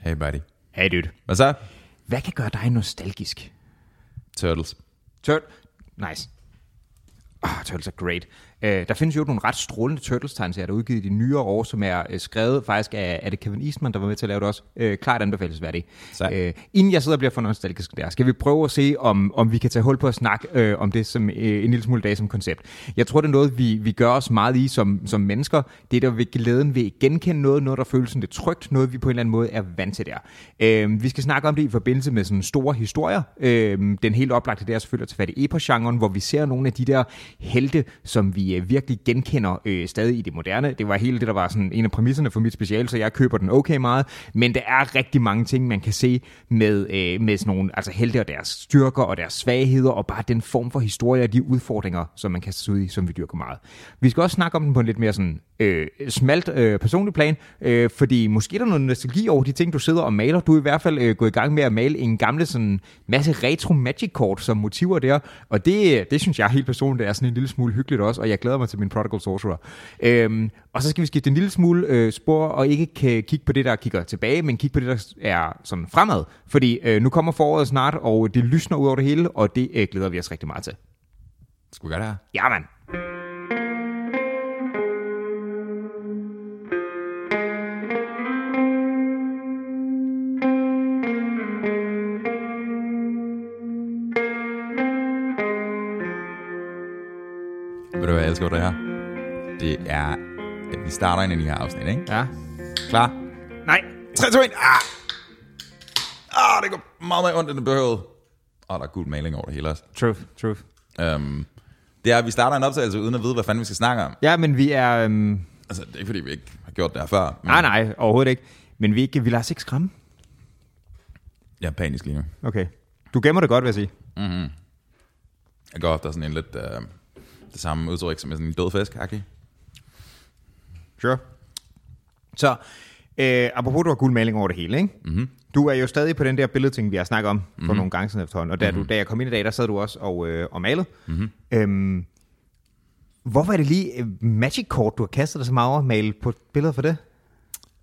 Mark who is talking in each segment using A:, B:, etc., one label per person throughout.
A: Hey buddy.
B: Hey dude.
A: Hvad så?
B: Hvad kan gøre dig nostalgisk?
A: Turtles.
B: Tur nice. Oh, Turtles er great. Uh, der findes jo nogle ret strålende Turtles-tegneserier, der er udgivet i de nyere år, som er uh, skrevet faktisk af, er det Kevin Eastman, der var med til at lave det også. Uh, klart anbefalesværdigt.
A: Sejt.
B: Uh, inden jeg sidder og bliver for nostalgisk der, skal vi prøve at se, om, om vi kan tage hul på at snakke uh, om det som uh, en lille smule dag som koncept. Jeg tror, det er noget, vi, vi gør os meget i som, som mennesker. Det er der ved glæden ved at genkende noget, noget der føles sådan lidt trygt, noget vi på en eller anden måde er vant til der. Uh, vi skal snakke om det i forbindelse med sådan store historier. Uh, den helt oplagte der er selvfølgelig at tage fat i epos-genren, hvor vi ser nogle af de der helte, som vi øh, virkelig genkender øh, stadig i det moderne. Det var hele det, der var sådan en af præmisserne for mit special, så jeg køber den okay meget. Men der er rigtig mange ting, man kan se med, øh, med sådan nogle altså helte og deres styrker og deres svagheder, og bare den form for historie og de udfordringer, som man kan se ud i, som vi dyrker meget. Vi skal også snakke om den på en lidt mere sådan øh, smalt øh, personlig plan, øh, fordi måske er der noget nostalgi over de ting, du sidder og maler. Du er i hvert fald øh, gået i gang med at male en gamle sådan masse retro magic kort som motiver der, og det, det synes jeg helt personligt er sådan en lille smule hyggeligt også, og jeg glæder mig til min Prodigal Sorcerer. Øhm, og så skal vi skifte en lille smule øh, spor, og ikke kan kigge på det, der kigger tilbage, men kigge på det, der er sådan fremad, fordi øh, nu kommer foråret snart, og det lysner ud over det hele, og det øh, glæder vi os rigtig meget til.
A: Skal vi gøre det her?
B: Ja, mand.
A: Ved du hvad, jeg elsker ved det her? Det er, at vi starter ind i de her afsnit, ikke?
B: Ja.
A: Klar?
B: Nej.
A: 3, 2, 1. Ah! Ah, det går meget mere ondt, end det behøvede. Og der er gul maling over det hele også.
B: Truth, truth.
A: Øhm, det er, at vi starter en optagelse uden at vide, hvad fanden vi skal snakke om.
B: Ja, men vi er... Øhm,
A: Altså, det er ikke, fordi vi ikke har gjort det her før. Men
B: nej, nej, overhovedet ikke. Men vi, er ikke, vi lader os ikke skræmme.
A: Jeg er panisk lige nu.
B: Okay. Du gemmer det godt, vil jeg sige.
A: Jeg går efter sådan en lidt... Øh, det samme udtryk som er sådan en død fisk, okay?
B: Sure. Så, øh, apropos, du har gul maling over det hele, ikke? Mm-hmm. Du er jo stadig på den der billedting, vi har snakket om for mm-hmm. nogle gange siden efterhånden. Og da, mm-hmm. du, da jeg kom ind i dag, der sad du også og, øh, og malede. Mm-hmm. Øhm, hvorfor er det lige øh, Magic-kort, du har kastet dig så meget over at male på billeder for det?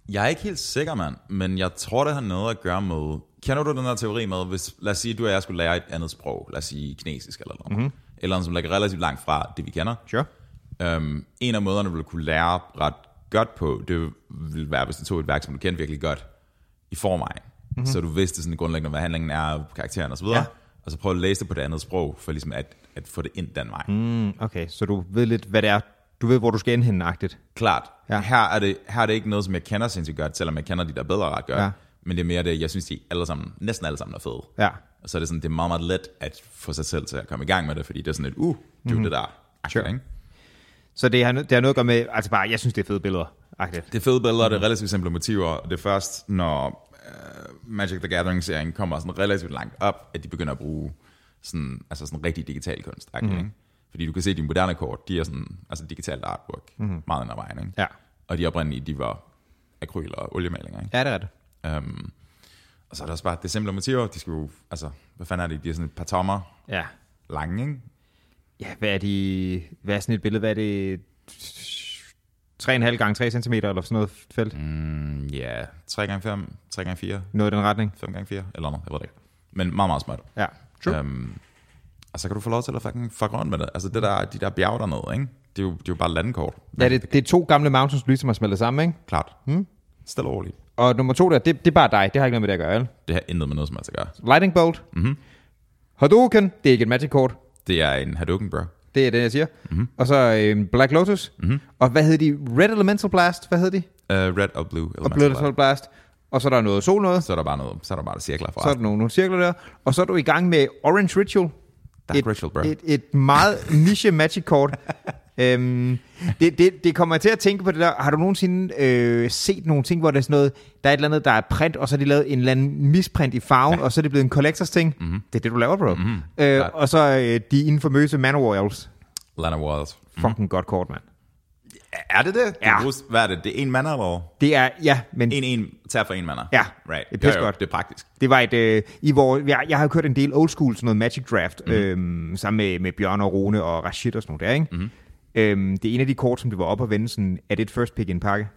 A: Jeg er ikke helt sikker, mand, men jeg tror, det har noget at gøre med... Kender du den her teori med, hvis, lad os sige, du og jeg skulle lære et andet sprog, lad os sige kinesisk eller noget, mm-hmm. eller noget, som ligger relativt langt fra det, vi kender.
B: Sure.
A: Øhm, en af måderne, du ville kunne lære ret godt på, det ville være, hvis du tog et værk, som du kendte virkelig godt i forvejen. Mm-hmm. Så du vidste sådan grundlæggende, hvad handlingen er, karakteren osv.,
B: Ja.
A: ja. og så prøv at læse det på det andet sprog, for ligesom at, at få det ind den vej. Mm.
B: Mm, okay, så du ved lidt, hvad det er. Du ved, hvor du skal ind henne, agtigt.
A: Klart,
B: Ja.
A: ja. her, er det, her er det ikke noget, som jeg kender sindssygt godt, selvom jeg kender de der bedre ret godt,
B: Ja.
A: ja. men det er mere det, jeg synes, de alle sammen, næsten alle sammen er fede.
B: Ja.
A: Og så er det sådan, det er meget, meget let at få sig selv til at komme i gang med det, fordi det er sådan et, uh, du mm-hmm. det der.
B: Mhm. Sure.
A: Sure. Ikke?
B: Så det har, no- det har noget at gøre med, altså bare, jeg synes, det er fede billeder, agtigt.
A: Det er fede billeder,
B: Mhm.
A: det er relativt simple motiver. og Det er først, når uh, Magic the Gathering-serien kommer sådan relativt langt op, at de begynder at bruge sådan, altså sådan rigtig digital kunst. Mm.
B: Mhm.
A: Ikke? Fordi du kan se, at de moderne kort, de er sådan, altså digitalt artwork, mm. meget under vejen. Ikke?
B: Mhm. Ja.
A: Og de oprindelige, de var akryl og oliemalinger. Ikke?
B: Ja, det er det.
A: Ja. Um, og så er der også bare det simple motiver, de skal jo, altså, hvad fanden er det, de er sådan et par tommer
B: Ja.
A: lange, ikke?
B: Ja, hvad er, de, hvad er sådan et billede? Hvad er det? 3,5 gange 3 cm eller sådan noget felt? Mm.
A: Mm, Ja, 3x5, 3x4,
B: Noget i den retning?
A: 5x4, eller noget, jeg ved det ikke. Men meget, meget smart.
B: Ja. True.
A: Øhm, og så kan du få lov til at fucking fuck rundt med det. Altså det der, de der bjerge dernede, ikke? Det er jo, det er jo bare landkort.
B: Ja, det, det er to gamle Mountain Blue, som har smeltet sammen, ikke?
A: Klart. Hmm? Stille og roligt.
B: Og nummer to der, det, det er bare dig. Det har ikke noget med det at gøre, vel?
A: Det har intet med noget som helst at gøre.
B: Lightning Bolt. Mm-hmm. Hadouken. Det er ikke et magic-kort.
A: Det er en Hadouken, bro.
B: Det er det, jeg siger. Mm-hmm. Og så øh, Black Lotus. Mm-hmm. Og hvad hed de? Red Elemental Blast. Hvad hed de?
A: Uh, red og blue.
B: Og
A: elemental
B: Blue
A: blast.
B: Elemental Blast. Og så er der noget sol noget.
A: Så er der bare noget, så er der bare cirkler fra.
B: Så er der nogle, nogle cirkler der. Og så er du i gang med Orange Ritual.
A: Dark Ritual, bro.
B: Et, et meget niche magic kort. øhm, det, det, det kommer jeg til at tænke på det der. Har du nogensinde øh, set nogle ting, hvor der er sådan noget, der er et eller andet, der er print, og så har de lavet en eller anden misprint i farven, ja. og så er det blevet en collectors ting. Mm-hmm. Det er det, du laver, bro. Mm-hmm. Øh,
A: Klart.
B: og så øh, de inden for møse Manowar Elves.
A: Lana Walls.
B: Fucking godt kort, mand.
A: Er det det?
B: Ja.
A: Det bruges, hvad er det? Det er en mander, eller?
B: Det er, ja, men
A: En, en, tag for en mander.
B: Ja,
A: right.
B: det er
A: Jo, jo,
B: pissegodt.
A: Det er praktisk.
B: Det var et, øh, i hvor, jeg, jeg har jo kørt en del old school, sådan noget Magic Draft, mm. øhm, sammen med, med Bjørn og Rune og Rashid og sådan noget der, ikke? Mm. Øhm, det er en af de kort, som det var op at vende sådan, er det et first pick i en pakke?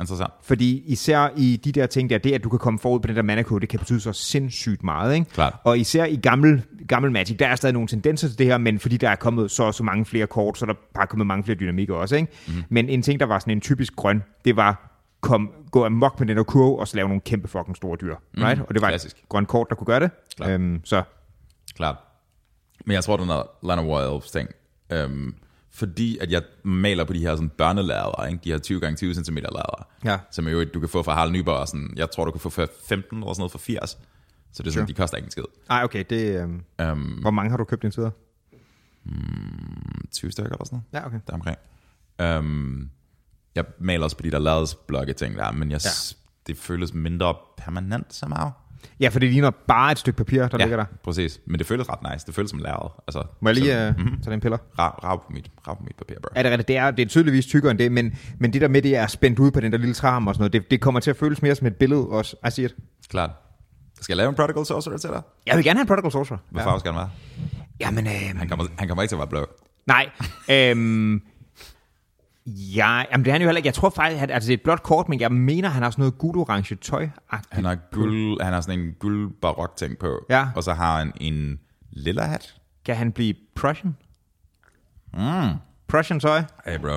A: Interessant.
B: Fordi især i de der ting der, det at du kan komme forud på den der mana code, det kan betyde så sindssygt meget. Ikke?
A: Klart.
B: Og især i gammel, gammel Magic, der er stadig nogle tendenser til det her, men fordi der er kommet så og så mange flere kort, så er der bare kommet mange flere dynamikker også. Ikke?
A: Mhm.
B: Mm. Men en ting, der var sådan en typisk grøn, det var kom, gå amok med den der kurve, og så lave nogle kæmpe fucking store dyr. Right? Og det var
A: Mhm. Klassisk.
B: et grønt kort, der kunne gøre det.
A: Klart.
B: Øhm, så
A: Klart. Men jeg tror, den er Land of Wild Elves ting. Øhm, fordi at jeg maler på de her sådan børnelader, ikke? de her 20 gange 20 cm lader,
B: Ja.
A: som jo du kan få fra Harald Nyborg, og sådan, jeg tror, du kan få for 15 eller sådan noget for 80. Så det er sådan,
B: Sure.
A: de koster ikke en skid.
B: ej, okay, det, øhm,
A: Øhm,
B: hvor mange har du købt indtil videre?
A: 20 stykker eller sådan noget.
B: Ja, okay.
A: der omkring. Øhm, jeg maler også på de der ladesblokke ting der, men jeg, ja. det føles mindre permanent så meget.
B: Ja, for det ligner bare et stykke papir, der ja. ligger der.
A: præcis. Men det føles ret nice. Det føles som lærred. Altså,
B: Må jeg lige
A: sådan,
B: øh, tage den piller?
A: Rav, rav, på mit, rav på mit papir, bro.
B: Er det rigtigt? Det er, det er tydeligvis tykkere end det, men, men det der med, det er spændt ud på den der lille tram og sådan noget, det, det kommer til at føles mere som et billede også. I see it.
A: Klart. Skal jeg lave en Prodigal Sorcerer til dig?
B: Jeg vil gerne have en Prodigal Sorcerer.
A: Hvad farve skal han være?
B: Jamen, øh,
A: Han kommer, han kommer ikke til at være blå.
B: nej. øhm, ja, jamen det er han jo heller ikke. Jeg tror faktisk, at altså, det er et blåt kort, men jeg mener, han har sådan noget gul-orange tøj.
A: Han har, guld, han har sådan en guld barok ting på.
B: Ja.
A: Og så har han en lilla hat.
B: Kan han blive Prussian? Mm. Prussian tøj?
A: Hey bro,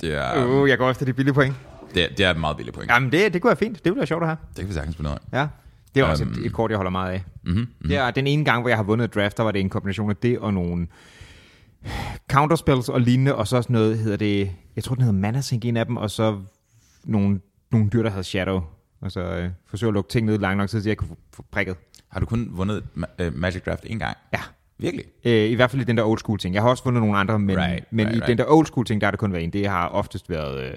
A: det er,
B: Uh, jeg går efter de billige point.
A: det, er- det er et meget billigt point.
B: Jamen det, det kunne være fint. Det ville være sjovt at have.
A: Det kan vi sagtens finde ud af.
B: Ja. Det er også et, et kort, jeg holder meget af. Mm-hmm, mm-hmm. Det er den ene gang, hvor jeg har vundet et draft, der var det en kombination af det og nogle counterspells og lignende, og så sådan noget, hedder det, jeg tror, den hedder Mana Sink, en af dem, og så nogle, nogle dyr, der havde Shadow. Og så øh, forsøge at lukke ting ned langt nok, så jeg kunne få, få prikket.
A: Har du kun vundet ma- øh, Magic Draft en gang?
B: Ja.
A: Virkelig?
B: Øh, I hvert fald i den der old school ting. Jeg har også fundet nogle andre, men,
A: Right,
B: men
A: right,
B: i
A: right.
B: den der old school ting, der har det kun været en. Det har oftest været, øh,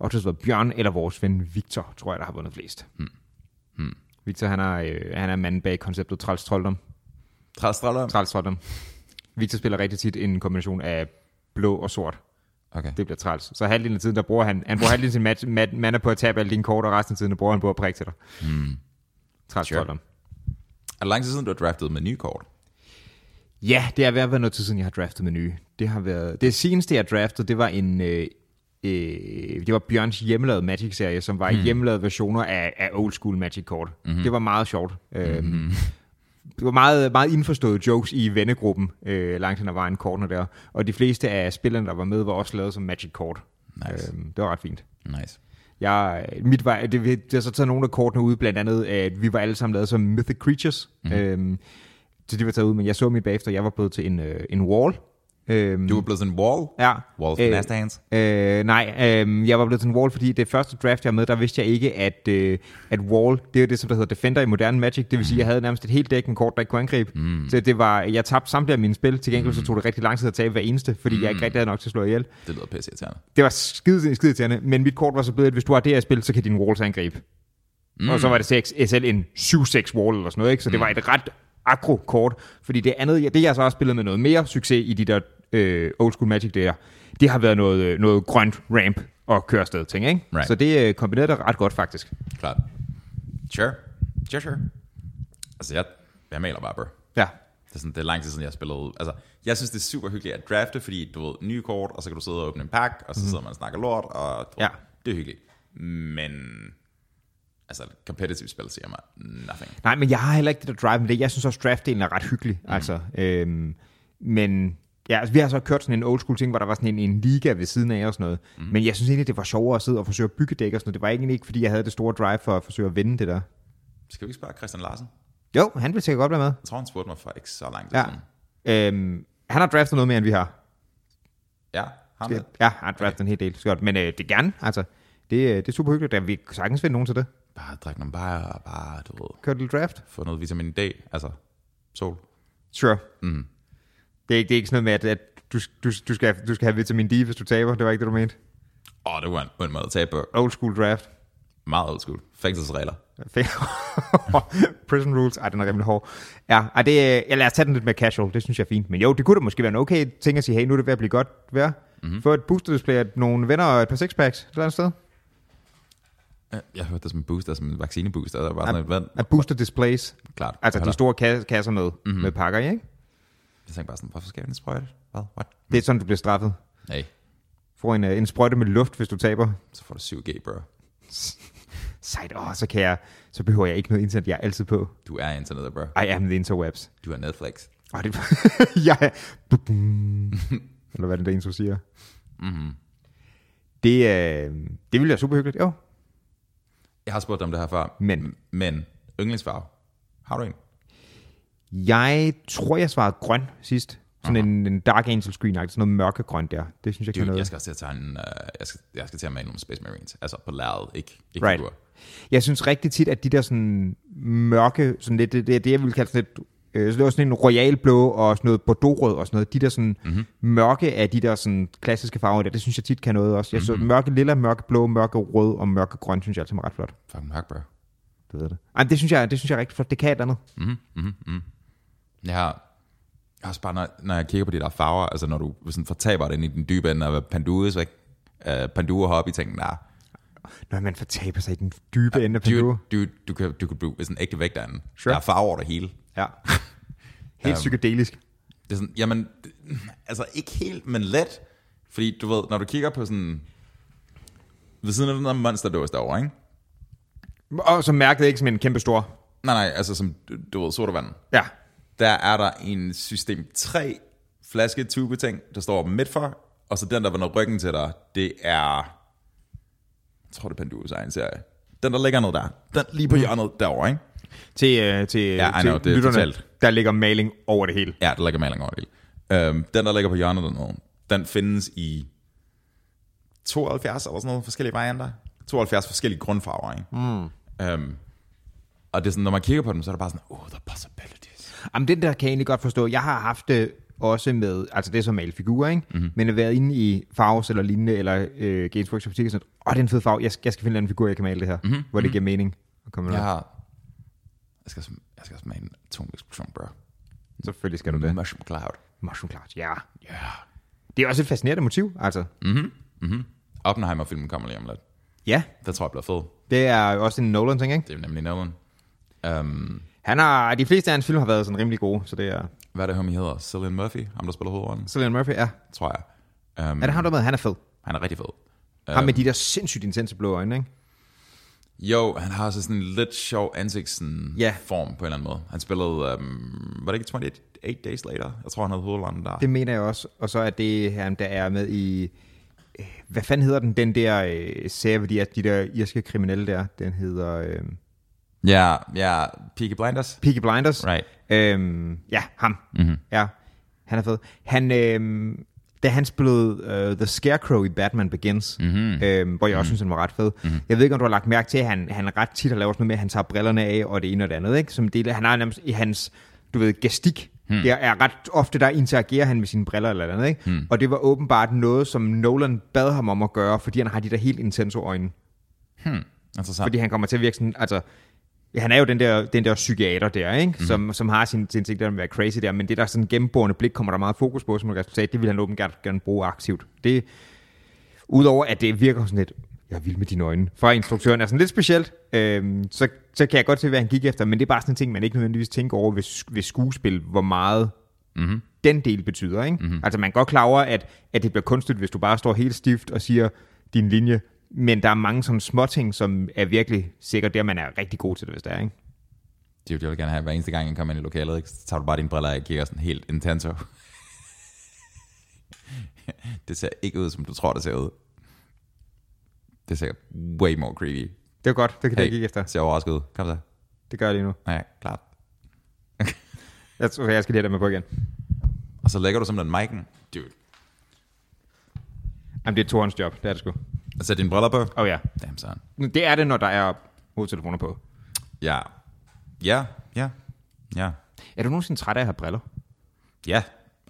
B: oftest været Bjørn eller vores ven Victor, tror jeg, der har vundet flest. Hmm. Victor, han er, øh, han er manden bag konceptet Træls Trolddom.
A: Træls Trolddom?
B: Træls Tottenham. Victor spiller rigtig tit en kombination af blå og sort.
A: Okay.
B: Det bliver træls. Så halvdelen af tiden, der bruger han, han bruger halvdelen af sin mat, mat, man er på at tabe alle dine kort, og resten af tiden, der bruger han på at prikke til dig. Mm. Træls
A: Hmm. Sure.
B: sure. Tottenham.
A: Er det lang tid siden, du har draftet med nye kort?
B: Ja, det har været været noget tid siden, jeg har draftet med nye. Det har været... Det seneste, jeg draftede, det var en... Øh, øh, det var Bjørns hjemmelavede Magic-serie, som var mm. hjemmelavede versioner af, af old school Magic-kort. Mm-hmm. Det var meget sjovt. Øhm, Det var meget, meget indforstået jokes i vennegruppen, øh, langt hen ad vejen kortene der. Og de fleste af spillerne, der var med, var også lavet som Magic-kort.
A: Nice.
B: Øhm, det var ret fint.
A: Nice.
B: Jeg, mit var, det, det har så taget nogle af kortene ud, blandt andet, at vi var alle sammen lavet som Mythic Creatures. Mm. Øhm, så de var taget ud, men jeg så mit bagefter, jeg var blevet til en, øh, en wall. Øhm,
A: Du er blevet sådan en wall?
B: ja.
A: Wall
B: Øh,
A: for øh, hands?
B: Øh, nej, øh, jeg var blevet til en wall, fordi det første draft, jeg var med, der vidste jeg ikke, at, øh, at wall, det er det, som der hedder defender i moderne Magic. Det vil sige, at jeg havde nærmest et helt dæk med kort, der ikke kunne angribe. Mm. Så det var, jeg tabte samtlige af mine spil. Til gengæld så tog det rigtig lang tid at tabe hver eneste, fordi mm. jeg ikke rigtig havde nok til at slå ihjel.
A: Det lyder pisse irriterende.
B: Det var skide, skide irriterende, men mit kort var så blevet, at hvis du har det her spil, så kan din walls angribe. Mm. Og så var det 6, SL en 7-6 wall eller sådan noget, ikke? så det var et ret akro kort. Fordi det andet, ja, det jeg så har spillet med noget mere succes i de der øh, old school magic der, det har været noget, øh, noget grønt ramp og kørested ting, ikke?
A: Right.
B: Så det øh, kombinerede det ret godt faktisk.
A: Klart. Sure. Sure, sure. Altså, jeg, jeg maler bare, bro.
B: Ja.
A: Det er, sådan, det er lang tid siden, jeg har spillet. Altså, jeg synes, det er super hyggeligt at drafte, fordi du ved, nye kort, og så kan du sidde og åbne en pakke, og så sidder man og snakker lort, og du ved,
B: Mhm. Ja.
A: det er hyggeligt. Men, altså, competitive spil siger mig nothing.
B: Nej, men jeg har heller ikke det der drive med det. Jeg synes også, draftdelen er ret hyggelig. Mm. Altså, øhm, men ja, altså, vi har så kørt sådan en old school ting, hvor der var sådan en, en liga ved siden af og sådan noget. Mm. Men jeg synes egentlig, det var sjovere at sidde og forsøge at bygge dæk og sådan noget. Det var egentlig ikke, fordi jeg havde det store drive for at forsøge at vinde det der.
A: Skal vi ikke spørge Christian Larsen?
B: Jo, han vil sikkert godt være med.
A: Jeg tror, han spurgte mig for ikke så lang tid
B: Ja.
A: siden.
B: Øhm, han har draftet noget mere, end vi har.
A: Ja, har han
B: Ja,
A: det?
B: han har draftet okay. en hel del. Skørt. Men øh, det er gerne, altså. Det, øh, det er super hyggeligt. Der, vi kan sagtens finde nogen til det.
A: Bare drik nogle bajer, og bare, du ved,
B: Kørt lidt draft?
A: få noget vitamin D, altså sol.
B: Sure. Mm. Det, er, ikke- det er ikke sådan noget med, at, at du, du, du, skal, du skal have vitamin D, hvis du taber. Det var ikke det, du mente.
A: Åh, oh, det var en ond måde at tabe på.
B: Old school draft.
A: Meget old school. Fængselsregler.
B: Fæ- Prison rules. Ej, den er rimelig hård. Ja, ej, det, øh, ja, lad os tage den lidt mere casual. Det synes jeg er fint. Men jo, det kunne da måske være en okay ting at sige, hey, nu er det ved at blive godt vejr. Mm-hmm. Få et booster display, nogle venner og et par sixpacks et eller andet sted.
A: Ja, Jeg hørte det som en booster, som en vaccinebooster. Der var sådan et vand.
B: At booster displays.
A: Klart.
B: Altså
A: Jeg
B: de store ka- kasser med, mm-hmm. med pakker, i, ikke?
A: Jeg tænkte bare sådan, hvorfor skal jeg en sprøjte? Hvad? What?
B: Det er sådan, du bliver straffet.
A: Nej,
B: Får en, øh, en sprøjte med luft, hvis du taber.
A: så får du 7G, bro.
B: Sejt, åh, så, kan jeg, så behøver jeg ikke noget internet, jeg er altid på.
A: Du er internettet, bro.
B: I am the interwebs.
A: Du er Netflix.
B: Og det, jeg er... Bum. Eller hvad den der intro siger.
A: Mm-hmm.
B: Det, øh, det ville være super hyggeligt. Jo,
A: Jeg har spurgt dig om det her før.
B: Men.
A: Men, yndlingsfarve. Har du en?
B: jeg tror, jeg svarede grøn sidst. Sådan en, en Dark Angel Screen, sådan noget mørkegrøn der. Det synes jeg kan
A: Dude,
B: noget.
A: jeg skal også til at tegne, uh, jeg, skal, jeg skal til at male nogle Space Marines. Altså på lærredet, ikke, ikke
B: Right.
A: figurer.
B: Jeg synes rigtig tit, at de der sådan mørke, sådan lidt, det, det, er det jeg ville kalde sådan lidt, øh, så det var sådan en royal blå og sådan noget bordeauxrød og sådan noget. De der sådan mm-hmm. mørke af de der sådan klassiske farver der, det synes jeg tit kan noget også. Jeg så mørke lilla, mørke blå, mørke rød og mørke grøn, synes jeg altid er ret flot.
A: Fucking hug, bro.
B: Du ved det. Ej, men det synes jeg, det synes jeg er rigtig flot. Det kan et eller andet.
A: Jeg har jeg har også bare, når, når jeg kigger på de der farver, altså når du sådan fortaber dig ind i den dybe ende af pandues, ikke? Uh, pandue hobby ting, nej.
B: Når man fortaber sig i den dybe ende af
A: Du,
B: Pandora.
A: du, du, kan, du kan blive sådan en ægte vægt derinde.
B: Sure.
A: Der er farver over det hele.
B: Ja. Øhm. Helt psykedelisk.
A: Det er sådan, jamen, det- altså ikke helt, men let. Fordi du ved, når du kigger på sådan, ved siden af den der monsterdås derovre, ikke?
B: Og så mærkede ikke som en kæmpe stor.
A: Nej, nej, altså som, du, du ved, sodavand.
B: Ja.
A: der er der en system 3 flaske tube ting, der står midt for, og så den, der vender ryggen til dig, det er, jeg tror det er Panduos egen serie. Den, der ligger ned der. Den lige på hjørnet derovre, ikke?
B: Til, øh, til,
A: Ja, I
B: til
A: know, det er totalt.
B: der ligger maling over det hele.
A: Ja, der ligger maling over det. hele. Øhm, den, der ligger på hjørnet dernede, den findes i 72 eller sådan noget forskellige varianter. 72 forskellige grundfarver, ikke?
B: Hmm.
A: Mm. Øhm, og det er sådan, når man kigger på dem, så er det bare sådan, oh, the possibilities.
B: Jamen, den der kan jeg egentlig godt forstå. Jeg har haft det også med, altså det er så male figurer, ikke? Mm-hmm. Men at være inde i Farves eller lignende, eller øh, Games Workshop Boutique og sådan noget. Åh, det er en fed farve. Jeg, skal- jeg skal finde en anden figur, jeg kan male det her. Mm-hmm. Hvor det giver mening at komme
A: Jeg
B: ja.
A: har... Jeg skal, også- jeg skal også male en atomeksplosion, bro.
B: Selvfølgelig skal du det.
A: Mushroom cloud.
B: Mushroom Clouds, ja.
A: Ja. Yeah.
B: Det er også et fascinerende motiv, altså. Mm.
A: Oppenheimer-filmen kommer lige om lidt.
B: Ja,
A: Den tror jeg bliver fed.
B: det er også en Nolan-ting, ikke?
A: Det er nemlig Nolan. Um,
B: Han har, de fleste af hans film har været sådan rimelig gode, så det er...
A: hvad er det, homie hedder? Cillian Murphy? Ham, der spiller hovedrollen,
B: Cillian Murphy, ja.
A: tror jeg. Um,
B: Er det ham, der er med? Han er fed.
A: Han er rigtig fed.
B: Ham med de der sindssygt intense blå øjne, ikke?
A: Jo, han har også sådan en lidt sjov ansigtsform
B: Ja.
A: yeah. på en eller anden måde. Han spillede, um, var det ikke 28 Days Later? Jeg tror, han havde hovedrollen der.
B: Det mener jeg også. Og så er det han, der er med i... øh, Hvad fanden hedder den, den der øh, serie, hvor de, er, de der irske kriminelle der? Den hedder øh,
A: Ja, ja. Peaky Blinders.
B: Peaky Blinders.
A: Right.
B: Øhm, ja, ham. Mm-hmm. Ja, han er fed. Han, øhm, da han spillede øh, The Scarecrow i Batman Begins, mm-hmm. øhm, hvor jeg også mm-hmm. synes, han var ret fed. Mm-hmm. Jeg ved ikke, om du har lagt mærke til, at han, han ret tit har lavet sådan noget med, at han tager brillerne af og det ene og det andet. Ikke? Som del, af- han har nærmest i hans, du ved, gestik. Mm. Det er ret ofte, der interagerer han med sine briller eller andet. Ikke? Mm. Og det var åbenbart noget, som Nolan bad ham om at gøre, fordi han har de der helt intense øjne.
A: Interessant.
B: Altså, Fordi han kommer til at virke sådan, altså, ja, han er jo den der, den der psykiater der, ikke? Mm. Som, som har sin sin ting der med at være crazy der, men det der sådan gennemborende blik kommer der meget fokus på, som du sagde, det vil han åbenbart gerne, gerne bruge aktivt. Det, udover at det virker sådan lidt, jeg er vild med dine øjne, fra instruktøren er sådan lidt specielt, øhm, så, så kan jeg godt se, hvad han gik efter, men det er bare sådan en ting, man ikke nødvendigvis tænker over ved, sk- ved skuespil, hvor meget mm-hmm. den del betyder. Ikke? Mm-hmm. Altså man er godt klar over, at, at det bliver kunstigt, hvis du bare står helt stift og siger din linje, men der er mange sådan små ting, som er virkelig sikkert der, man er rigtig god til det, hvis det er. Ikke?
A: Det er jo det, jeg vil gerne have. Hver eneste gang, jeg kommer ind i lokalet, ikke, så tager du bare dine briller af og kigger sådan helt intenso. det ser ikke ud, som du tror, det ser ud. Det ser way more creepy.
B: Det er godt, det kan hey. jeg ikke
A: det
B: efter.
A: ser overrasket ud. Kom så.
B: Det gør jeg lige nu.
A: Nej, klart.
B: Jeg tror, jeg skal lige have det med på igen.
A: Og så lægger du simpelthen mic'en. Dude.
B: Jamen, det er Torens job, det er det sgu. Åh
A: Og sæt dine briller på.
B: oh, ja,
A: Damn, son.
B: det er det, når der er hovedtelefoner på.
A: Ja. Ja, ja, ja.
B: Er du nogensinde træt af at have briller?
A: Ja,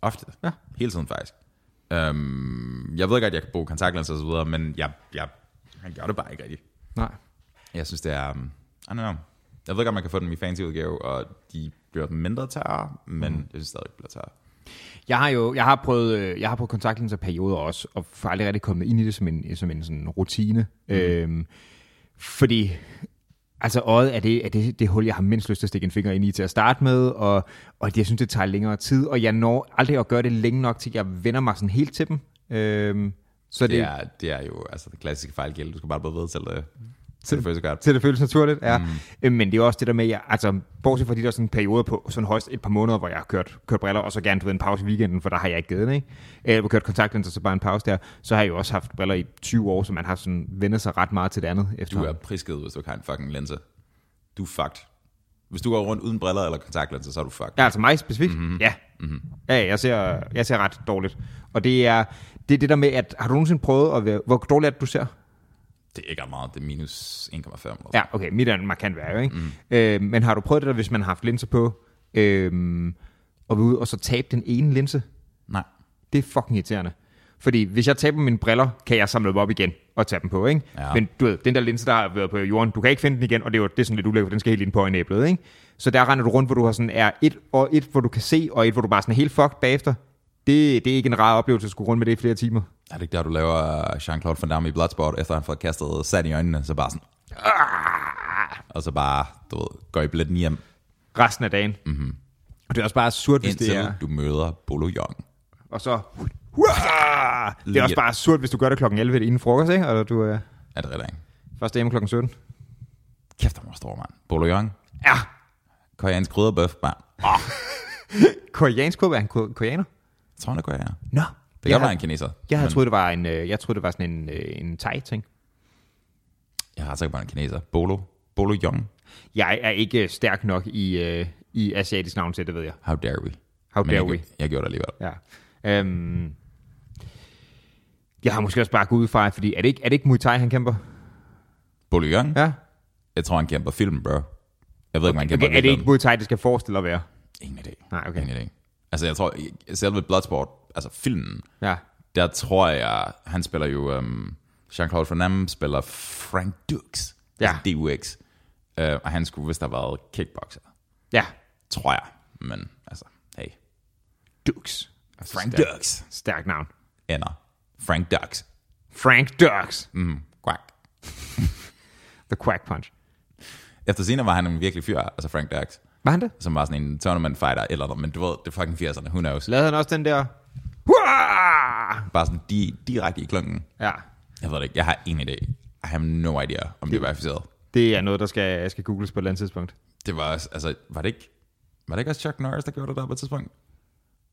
A: ofte.
B: Ja.
A: Hele tiden faktisk. Øhm, jeg ved godt, at jeg kan bruge kontaktlinser og så videre, men jeg, jeg, jeg gør det bare ikke rigtigt.
B: Nej.
A: Jeg synes, det er... Um, I don't know. Jeg ved godt, man kan få dem i fancy udgave, og de bliver mindre tørre, men mm. jeg synes stadig, de bliver tørre.
B: Jeg har jo jeg har prøvet, øh, jeg har prøvet kontaktlinser i perioder også, og for aldrig rigtig kommet ind i det som en, som en sådan rutine. Mm. Øhm, fordi altså øjet er, det, er det, det hul, jeg har mindst lyst til at stikke en finger ind i til at starte med, og, og jeg synes, det tager længere tid, og jeg når aldrig at gøre det længe nok til, at jeg vender mig sådan helt til dem. Øhm, så det,
A: Det
B: det
A: er, det er jo altså det klassiske fejlgæld. Du skal bare blive ved til det. til det første godt.
B: til det føles naturligt. Ja. Mm. Øh, men det er også det der med, jeg, altså, bortset fra de der sådan perioder på sådan højst et par måneder, hvor jeg har kørt, kørt briller, og så gerne du ved, en pause i weekenden, for der har jeg ikke givet den, ikke? Øh, hvor kørt kontaktlinser, så bare en pause der. Så har jeg jo også haft briller i 20 år, så man har sådan vendt sig ret meget til det andet. Efter.
A: Du er prisket, hvis du ikke har en fucking linse. Du er fucked. Hvis du går rundt uden briller eller kontaktlinser, så er du fucked.
B: Ja, altså mig specifikt?
A: Mhm.
B: Mm-hmm. Ja. Mm-hmm. Ja, jeg ser, jeg ser ret dårligt. Og det er, det er det der med, at har du nogensinde prøvet at være, hvor dårligt er det, du ser?
A: Det er ikke ret meget. Det er minus 1,5. eller sådan.
B: Ja, okay, mit er markant værre,
A: Mhm.
B: ikke? Mm. Øh, men har du prøvet det der, hvis man har haft linser på, øh, og vil ud og så tabe den ene linse?
A: Nej.
B: Det er fucking irriterende. Fordi hvis jeg taber mine briller, kan jeg samle dem op igen og tage dem på, ikke?
A: Ja.
B: Men du ved, den der linse, der har været på jorden, du kan ikke finde den igen, og det er jo det er sådan lidt ulækkert, for den skal helt ind på øjenæblet, ikke? Så der render du rundt, hvor du har sådan er et, og et, hvor du kan se, og et, hvor du bare er sådan helt fucked bagefter. Det, det er ikke en rar oplevelse at skulle rundt med det i flere timer.
A: Er det ikke der, du laver øh, Jean-Claude Van Damme i Bloodsport, efter han får kastet sand i øjnene, så bare sådan... "Ah!" Og så bare, du ved, går i blætten hjem,
B: Resten af dagen. Mm-hmm. Og det er også bare surt, hvis
A: Mhm. indtil
B: det er...
A: du møder Bolo Young.
B: Og så... Hurra! Det er også bare surt, hvis du gør det klokken 11 inden frokost, ikke? Eller du er
A: Er det rigtigt? ikke?
B: først hjemme klokken 17.
A: Kæft, han var stor, mand. Bolo Young.
B: Ja,
A: Koreansk krydderbøf, mand.
B: koreansk kåbe er en ko- koreaner.
A: Jeg tror, han er koreaner.
B: Nå.
A: Det kan godt være han er kineser.
B: Jeg havde
A: men
B: troet, det var en, øh, jeg troede, det var sådan en, øh, en thai-ting.
A: Jeg har sikkert, han er kineser. Bolo. Bolo Young.
B: Jeg er ikke øh, stærk nok i, øh, i asiatisk navnsæt, det ved jeg.
A: How dare we?
B: How
A: Men jeg,
B: dare we?
A: Jeg gjorde det alligevel.
B: Ja. Øhm, jeg har måske også bare gået ud fra, fordi er det ikke, er det ikke Muay Thai, han kæmper?
A: Bolo Young?
B: Ja.
A: Jeg tror, han kæmper film, bro. Jeg ved ikke, om han kæmper
B: Okay, er det
A: virkeligheden.
B: ikke Muay Thai, det skal forestille at være?
A: Ingen idé.
B: Nej, okay.
A: Ingen idé. Altså, jeg tror, i- selve Bloodsport, altså filmen,
B: Ja.
A: der tror jeg, han spiller jo, um, Jean-Claude Van Damme spiller Frank Dux,
B: Ja.
A: altså DUX, uh, og han skulle vist have været kickboxer,
B: Ja.
A: tror jeg. Men altså, hey,
B: Dux.
A: Frank
B: Stærk-
A: Dux
B: Stærk navn.
A: ender. Frank Dux.
B: Frank Dux.
A: Mm, quack.
B: The Quack Punch.
A: Efter senere var han en virkelig fyr, altså Frank Dux,
B: Var han det?
A: som var sådan en tournament fighter eller noget, men du ved, det er fucking 80'erne, who knows.
B: Lavede han også den der... Hurra!
A: Bare sådan di- direkte i klunken.
B: Ja,
A: Jeg ved det ikke, jeg har ingen idé. I have no idea, om det, det var verificeret.
B: det er noget, der skal, skal googles på et eller andet tidspunkt.
A: Det var også, altså, var det ikke, var det ikke også Chuck Norris, der gjorde det der på et tidspunkt?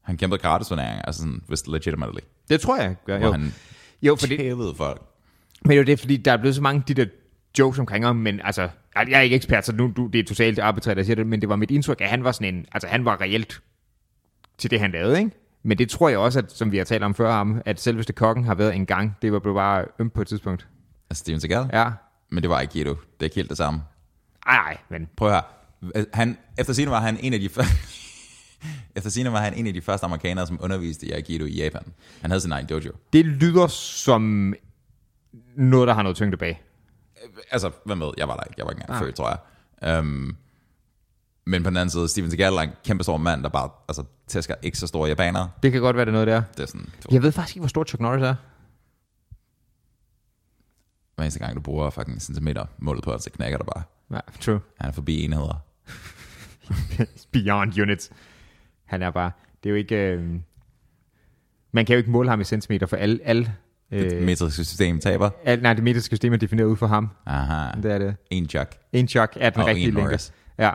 A: Han kæmpede gratis turneringer, altså sådan, hvis legitimately.
B: Det tror jeg gør,
A: Jo.
B: jo.
A: Han
B: jo fordi,
A: tævede folk.
B: men jo, det er fordi, der er blevet så mange af de der jokes omkring ham, men altså, jeg er ikke ekspert, så nu, du, det er totalt arbitrært, der siger det, men det var mit indtryk, at han var sådan en, altså han var reelt til det, han lavede, ikke? Men det tror jeg også, at, som vi har talt om før, ham, at selveste kokken har været en gang. Det var blevet bare ømt på et tidspunkt.
A: Altså Steven Seagal. Ja.
B: Ja.
A: Men det var Aikido. Det er ikke helt det samme.
B: Ej, ej, men
A: Prøv at høre. Han, efter sine var han en af de første... efter sine var han en af de første amerikanere, som underviste i Aikido i Japan. Han havde sin egen dojo.
B: det lyder som noget, der har noget tyngde bag.
A: Altså, hvem ved? Jeg var der ikke. Jeg var ikke engang født, tror jeg. Um, men på den anden side, Steven Seagal er en kæmpe stor mand, der bare altså, tæsker ikke så store japanere.
B: Det kan godt være, det er noget, der. er.
A: Det er sådan, du,
B: Jeg ved faktisk ikke, hvor stor Chuck Norris er.
A: hver eneste gang, du bruger fucking centimeter målet på, så knækker der bare.
B: Nej, true.
A: Han er forbi enheder.
B: Beyond units. Han er bare... Det er jo ikke... Øh, man kan jo ikke måle ham i centimeter, for alle... alle
A: Det
B: øh,
A: metriske system taber.
B: alt, nej, det metriske system er defineret ud for ham.
A: Aha.
B: Det er det.
A: En chok.
B: En chok er den
A: Og
B: rigtige
A: en
B: længde.
A: Norris.
B: Ja.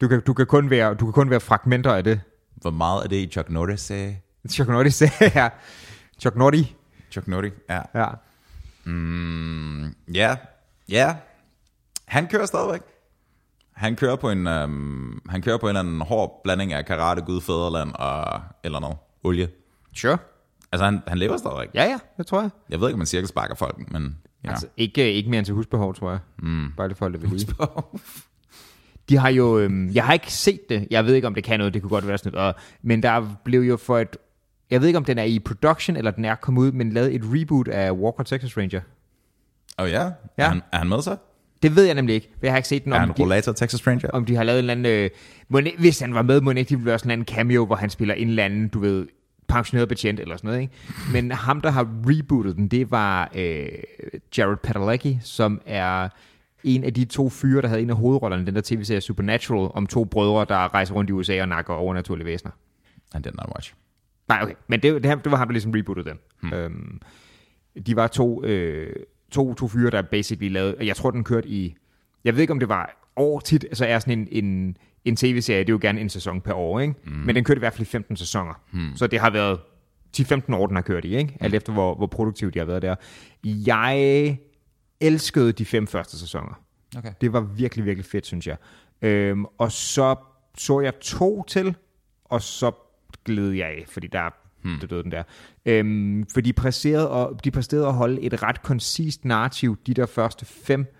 B: Du kan, du, kan kun være, du kan kun være fragmenter af det.
A: Hvor meget er det i Chuck Norris? øh? sagde?
B: Chuck Norris sagde her. Chuck Norris.
A: Chuck Norris, ja.
B: Ja.
A: Mm, ja, ja. Han kører stadigvæk. Han kører på en, øhm, han kører på en eller anden hård blanding af karate, gud, fædreland og eller noget. Olie.
B: Sure.
A: Altså, han, han lever stadigvæk.
B: Ja, ja, det tror jeg.
A: Jeg ved ikke, om man cirka sparker folk, men... Ja.
B: Ja.
A: Altså,
B: Altså, ikke, ikke mere end til husbehov, tror jeg. Mm. Bare det for at lade ved lige. De har jo, øhm, jeg har ikke set det, jeg ved ikke om det kan noget, det kunne godt være sådan noget, og, men der blev jo for et, jeg ved ikke om den er i production, eller den er kommet ud, men lavet et reboot af Walker Texas Ranger.
A: og ja, ja.
B: Ja.
A: Er, han, er han med så?
B: Det ved jeg nemlig ikke, for jeg har ikke set den,
A: Er
B: om,
A: han
B: de,
A: rollator Texas Ranger?
B: om de har lavet en eller anden, øh, må ikke- hvis han var med, må det ikke, de ville lave sådan en eller anden cameo, hvor han spiller en eller anden, du ved, pensioneret betjent eller sådan noget, ikke? Men ham, der har rebootet den, det var øh, Jared Padalecki, som er en af de to fyre, der havde en af hovedrollerne i den der tv-serie Supernatural, om to brødre, der rejser rundt i USA og nakker overnaturlige væsener.
A: Han did not watch.
B: Nej, okay. Men det, det, det var ham, der ligesom rebootede den. Hmm. Øhm, de var to øh, to, to fyre, der basically lavede, jeg tror, den kørte i, jeg ved ikke, om det var år tit, så er sådan en, en, en tv-serie, det er jo gerne en sæson per år, ikke? Mm. men den kørte i hvert fald i 15 sæsoner, mm. så det har været 10-15 år, den har kørt i, ikke? alt efter hvor, hvor produktiv de har været der. Jeg elskede de fem første sæsoner.
A: Okay.
B: Det var virkelig, virkelig fedt, synes jeg. Øhm, og så så jeg to til, og så gled jeg af, fordi der hmm. det døde den der. Øhm, for de præsterede, og, de præsterede at holde et ret koncist narrativ, de der første fem,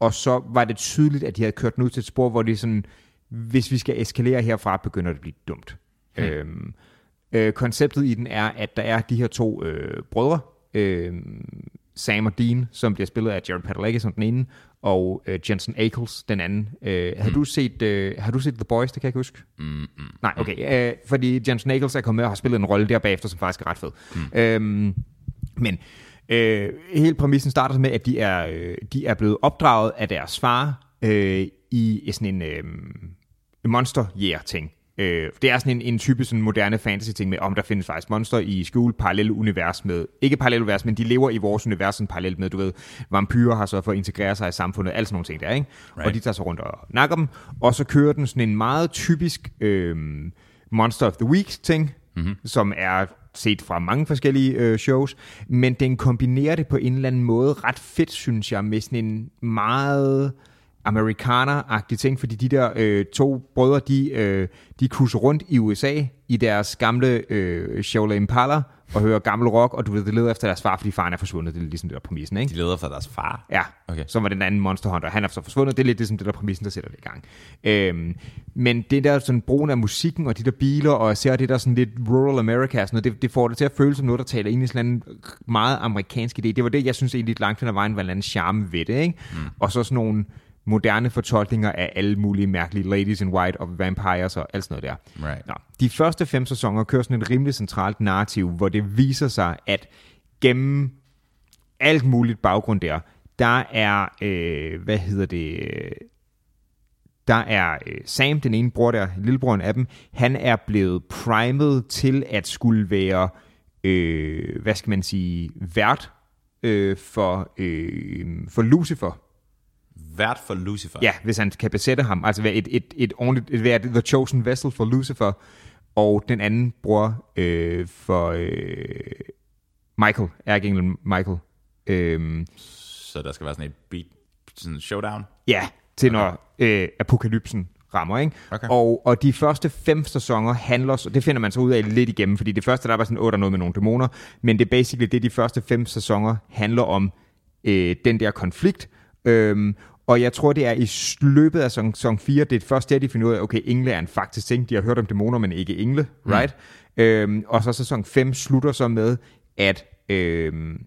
B: og så var det tydeligt, at de havde kørt den ud til et spor, hvor de sådan, hvis vi skal eskalere herfra, begynder det at blive dumt. Hmm. Øhm, øh, konceptet i den er, at der er de her to øh, brødre, øh, Sam og Dean, som bliver spillet af Jared Padalecki som den ene, og øh, Jensen Ackles den anden. Øh, har, du set, øh, har du set The Boys? Det kan jeg ikke huske. Mm, Nej, okay. Øh, fordi Jensen Ackles er kommet med og har spillet en rolle der bagefter, som faktisk er ret fed. Mm. Øhm, men øh, hele præmissen starter med, at de er, øh, de er blevet opdraget af deres far øh, i sådan en øh, monster-jæger-ting. Øh, det er sådan en, en type sådan moderne fantasy-ting med, om der findes faktisk monster i skjult parallelle univers med, ikke parallelle univers, men de lever i vores univers sådan parallelt med, du ved, vampyrer har så for at integrere sig i samfundet, alt sådan nogle ting der, ikke? Right. Og de tager sig rundt og nakker dem, og så kører den sådan en meget typisk øh, Monster of the Week-ting, mm-hmm. som er set fra mange forskellige øh, shows, men den kombinerer det på en eller anden måde ret fedt, synes jeg, med sådan en meget amerikaner-agtig ting, fordi de der øh, to brødre, de, øh, de kusser rundt i USA i deres gamle øh, Chevrolet Impala og hører gammel rock, og du ved, det leder efter deres far, fordi faren er forsvundet. Det er ligesom det der præmissen, ikke?
A: De leder for deres far.
B: Ja,
A: Okay.
B: okay. som var den anden Monster Hunter. Han er så forsvundet. Det er lidt ligesom det der præmissen, der sætter det i gang. Øhm, men det der sådan, brugen af musikken og de der biler, og især det der sådan lidt rural America og sådan noget, det, det får det til at føles som noget, der taler ind i sådan en eller anden meget amerikansk idé. Det var det, jeg synes egentlig langt hen ad vejen var en eller anden charme ved det. Ikke? Mm. Og så sådan nogle moderne fortolkninger af alle mulige mærkelige ladies in white og vampires og alt sådan noget der.
A: Right.
B: Nå, de første fem sæsoner kører sådan et rimelig centralt narrativ, hvor det viser sig, at gennem alt muligt baggrund der. Der er, øh, hvad hedder det, øh, der er øh, Sam, den ene bror der, lillebroren af dem, han er blevet primet til at skulle være, øh, hvad skal man sige, vært øh, for, øh, for Lucifer.
A: Vært for Lucifer.
B: Ja, hvis han kan besætte ham. Altså være et, et, et ordentligt, et, være the chosen vessel for Lucifer, og den anden bror øh, for øh, Michael, ærgenglen Michael. Øh,
A: Så der skal være sådan et beat, sådan en showdown.
B: Ja, til okay. når øh, apokalypsen rammer, ikke?
A: Okay.
B: Og, og de første fem sæsoner handler, så- det finder man så ud af lidt igennem, fordi det første, der var sådan, åh, der er noget med nogle dæmoner, men det er basically det, de første fem sæsoner handler om, øh, den der konflikt, øhm, og jeg tror, det er i s- løbet af sæson, sæson 4, det er først der, de finder ud af, okay, engle er en faktisk ting, de har hørt om dæmoner, men ikke engle, right? Øhm, og så sæson 5 slutter så med, at øhm,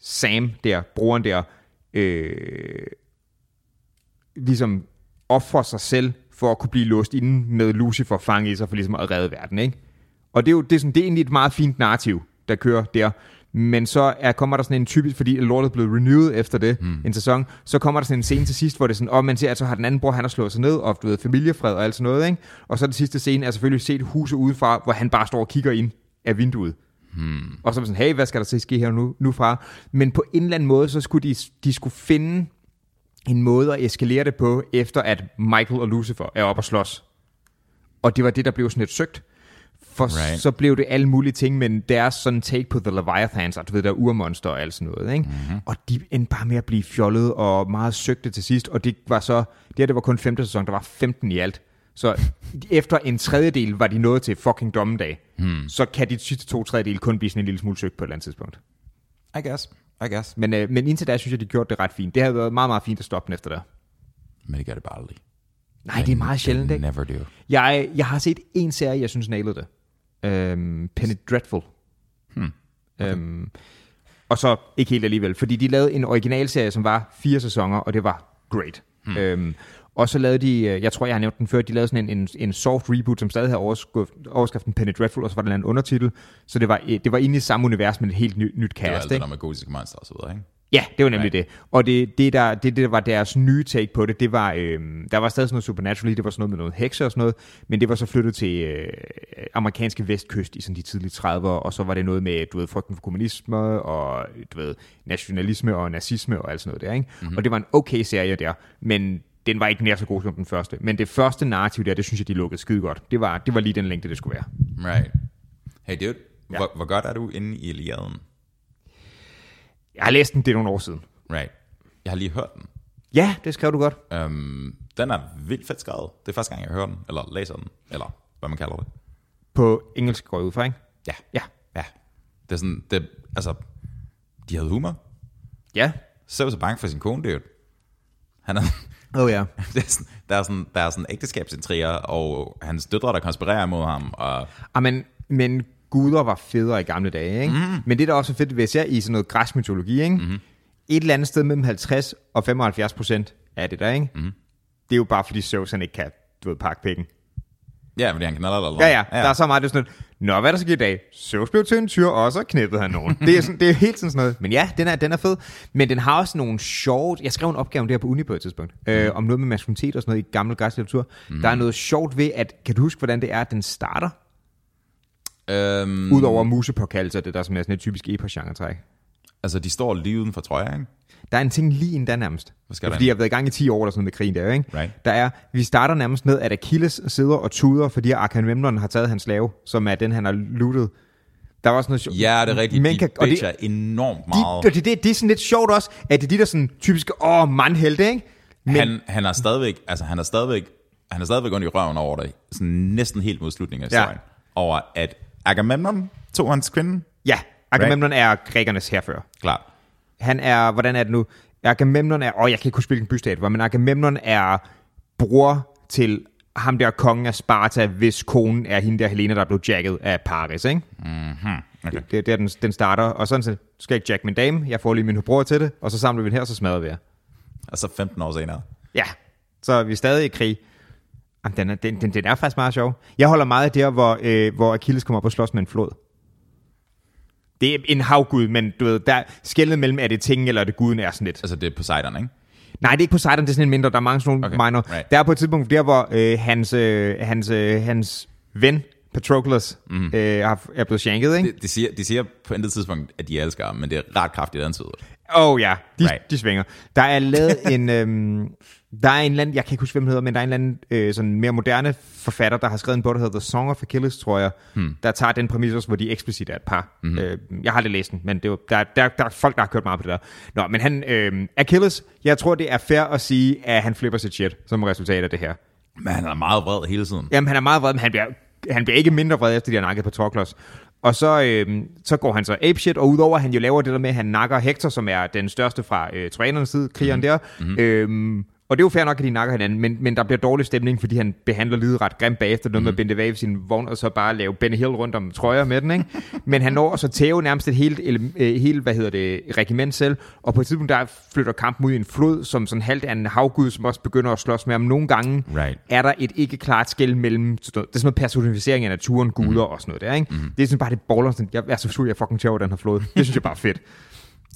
B: Sam der, broren der, øh, ligesom ofre sig selv for at kunne blive låst inde med Lucifer fanget i sig for ligesom at redde verden, ikke? Og det er jo det er sådan, det er egentlig et meget fint narrativ, der kører der. Men så er, kommer der sådan en typisk, fordi lortet er blevet renewed efter det, mm. en sæson, så kommer der sådan en scene til sidst, hvor det er sådan, og man ser, at så altså, har den anden bror, han har slået sig ned, og du ved, familiefred og alt sådan noget, ikke? Og så den sidste scene er selvfølgelig set huset udefra, hvor han bare står og kigger ind af vinduet. Mm. Og så er man sådan, hey, hvad skal der så ske her nu, nu fra? Men på en eller anden måde, så skulle de, de skulle finde en måde at eskalere det på, efter at Michael og Lucifer er oppe og slås. Og det var det, der blev sådan lidt søgt. For
A: Right.
B: right. så blev det alle mulige ting, men deres sådan take på The Leviathans, og du ved, der er urmonster og alt sådan noget. Ikke? Mm-hmm. Og de endte bare med at blive fjollet og meget søgte til sidst, og det var så, det her det var kun femte sæson, der var 15 i alt. Så efter en tredjedel var de nået til fucking dommedag. Hmm. Så kan de sidste to tredjedel kun blive sådan en lille smule søgt på et eller andet tidspunkt.
A: I guess. I guess.
B: Men, øh, men indtil da synes jeg, de gjorde det ret fint. Det havde været meget, meget fint at stoppe den efter der.
A: Men det gør det bare aldrig.
B: Nej, det er meget sjældent, ikke?
A: Never do.
B: Jeg, jeg har set en serie, jeg synes nailede det. Øhm, Penny Dreadful. Hmm. Okay. Øhm, og så ikke helt alligevel, fordi de lavede en originalserie, som var fire sæsoner, og det var great. Hmm. Øhm, og så lavede de, øh, jeg tror, jeg har nævnt den før, de lavede sådan en, en, en soft reboot, som stadig havde overskriften, overskriften Penny Dreadful, og så var der en anden undertitel. Så det var, øh, det var egentlig samme univers, men et helt ny, nyt
A: Det var
B: cast.
A: alt det
B: ikke?
A: der med gotiske monster og så videre, ikke?
B: Ja, det var nemlig ja. det. Og det, det, der, det, der var deres nye take på det, det var, øh, der var stadig sådan noget supernatural i, det var sådan noget med noget hekser og sådan noget, men det var så flyttet til øh, amerikanske vestkyst i sådan de tidlige 30'ere, og så var det noget med, du ved, frygten for kommunisme og, du ved, nationalisme og nazisme og alt sådan noget der, ikke? Mm-hmm. Og det var en okay serie der, men den var ikke nær så god som den første. Men det første narrativ der, det synes jeg, de lukkede skide godt. Det var, det var lige den længde, det skulle være.
A: Right. Hey dude,
B: Ja.
A: ja. hvor, hvor godt er du inde i Iliaden?
B: Jeg har læst den, det er nogle år siden.
A: Right. Jeg har lige hørt den.
B: Ja, det skrev du godt.
A: Øhm, den er vildt fedt skrevet. Det er første gang, jeg hører den, eller læser den, eller hvad man kalder det.
B: På engelsk går jeg ud fra, ikke?
A: Ja.
B: Ja.
A: Ja. Det er sådan, det, altså, de havde humor.
B: Ja.
A: Så var så bange for sin kone, det er jo. Han er,
B: Åh oh, ja.
A: det er sådan, der er sådan, der er sådan ægteskabsintriger, og hans døtre, der konspirerer mod ham, og
B: Ah, men, men guder var federe i gamle dage, ikke? Mm. Men det, der også er fedt ved især i sådan noget græsk mytologi, ikke? Mm. Et eller andet sted mellem 50 og 75 procent af det der, ikke? Mm. Det er jo bare, fordi Zeus han ikke kan, du ved, pakke pikken.
A: ja, fordi han knaller eller noget.
B: Ja, ja, ja, der er så meget, det er sådan noget, Nå, hvad er der sker i dag? Zeus blev til en tyr, og så knippede han nogen. det, er sådan, det er helt sådan sådan noget. Men ja, den er, den er fed. Men den har også nogle sjove... Jeg skrev en opgave om det her på uni på et tidspunkt. Øh, om noget med maskulinitet og sådan noget i gammel græsk litteratur. Mm. Der er noget sjovt ved, at... Kan du huske, hvordan det er, at den starter?
A: Øhm,
B: Mm. Udover musepåkaldelser, det der som er sådan et typisk epos-genre-træk.
A: altså, de står lige uden for trøjer, ikke?
B: Der er en ting lige inden der nærmest.
A: Hvad skal
B: Det
A: der
B: er fordi
A: ind?
B: jeg har været i gang i 10 år eller sådan noget med krigen der, jo, ikke?
A: Right.
B: Der er, vi starter nærmest med, at Achilles sidder og tuder, fordi Agamemnon har taget hans slave, som er den, han har lootet. Der var også noget sjovt.
A: Ja, det er rigtigt. Men de
B: kan,
A: kan,
B: og det,
A: bitcher det, enormt meget.
B: de, det, det, det, er sådan lidt sjovt også, at det er de der sådan typiske, åh, mandhelte, ikke? Men, han,
A: han, han er stadigvæk, altså han er stadigvæk, han er stadigvæk ondt i røven over det, sådan næsten helt mod slutningen af
B: Ja.
A: historien, over at Agamemnon tog hans kvinde,
B: ja, Agamemnon er grækernes herfører.
A: klart,
B: Han er, hvordan er det nu? Agamemnon er, åh, jeg kan ikke huske, hvilken bystat det var, men Agamemnon er bror til ham der kongen af Sparta, hvis konen er hende der Helena, der blev jacket af Paris, ikke? Mm-hmm. Okay. Det, det er der, den, den starter, og sådan så "Du skal jeg ikke jack min dame, jeg får lige min bror til det, og så samler vi den her, og så smadrer vi jer.
A: og så 15 år senere.
B: Ja, så er vi stadig i krig. Jamen, den, er, den, den, den er faktisk meget sjov. Jeg holder meget af der, hvor, øh, hvor Achilles kommer op og slås med en flod. Det er en havgud, men du ved, der skældet mellem, er det ting eller er det guden, er sådan lidt.
A: Altså det er Poseidon, ikke?
B: Nej, det er ikke Poseidon, det er sådan en mindre. Der er mange sådan nogle okay,
A: Okay,
B: minor. Right.
A: right.
B: Der er på et tidspunkt der, hvor øh, hans, øh, hans, øh, hans ven, Patroclus, mm. øh, har- er blevet shanket, ikke?
A: Det, de, siger, de siger på intet tidspunkt, at de elsker ham, men det er ret kraftigt antydet.
B: Åh oh, ja, de, right.
A: Right.
B: de svinger. Der er lavet en... Øhm, der er en eller anden, jeg kan ikke huske, hvem den hedder, men der er en eller anden øh, sådan mere moderne forfatter, der har skrevet en bog, der hedder The Song of Achilles, tror jeg, hmm. der tager den præmis også, hvor de eksplicit er et par. Mm-hmm. Øh, jeg har aldrig læst den, men det var, der, der, der er folk, der har kørt meget på det der. Nå, men han, øh, Achilles, jeg tror, det er fair at sige, at han flipper sit shit som resultat af det her.
A: Men han er meget vred hele tiden.
B: Jamen, han er meget vred, men han bliver, han bliver ikke mindre vred, efter de har nakket på Torklos. Og så, øh, så går han så apeshit, og udover at han jo laver det der med, at han nakker Hector, som er den største fra øh, trojanernes side, krigeren der. Mm-hmm. Øh, og det er jo fair nok, at de nakker hinanden, men, men der bliver dårlig stemning, fordi han behandler livet ret grimt bagefter, noget mm-hmm. med at binde det af ved sin vogn, og så bare lave Benny Hill rundt om trøjer med den, ikke? Men han når så tæve nærmest et helt, ele- øh, helt, hvad hedder det, regiment selv, og på et tidspunkt der flytter kampen ud i en flod, som sådan halvt er en havgud, som også begynder at slås med ham nogle gange
A: Right.
B: er der et ikke klart skæld mellem, det er sådan noget personificering af naturen, guder mm. og sådan noget der, ikke? Mm. Det er sådan bare det baller, sådan, jeg er så fuld, jeg er fucking sjov, den her flod. Det synes jeg bare er fedt.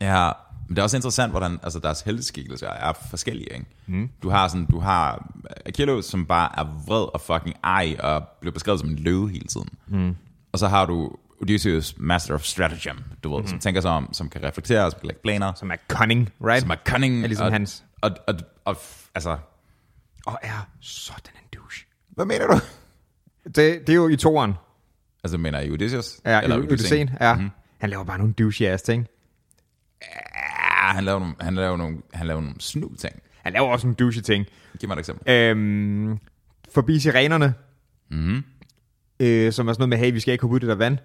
A: Ja, men det er også interessant, hvordan altså, deres helteskikkelser er forskellige. Ikke? Mm. Du har sådan, du har Achilles, som bare er vred og fucking ej, og bliver beskrevet som en løve hele tiden. Mm. Og så har du Odysseus, master of stratagem, du ved, mm. som tænker sig om, som kan reflektere, som kan lægge planer, som,
B: Som er cunning, right?
A: som er cunning.
B: Er ligesom
A: og,
B: hans.
A: Og, og, og, og, f- altså,
B: Og er sådan en douche.
A: hvad mener du?
B: Det, det er jo i toeren,
A: Altså, mener I Odysseus?
B: er,
A: Eller
B: eller
A: Odysseen?
B: Odysseen, er. Mm. Han laver bare nogle douche ass ting.
A: Ja, han laver nogle, han laver nogle, han laver nogle snu ting.
B: Han laver også nogle douche ting.
A: Giv mig et eksempel.
B: Øhm, forbi sirenerne, mm. øh, som er sådan noget med, hey, vi skal ikke hoppe ud i det der vand.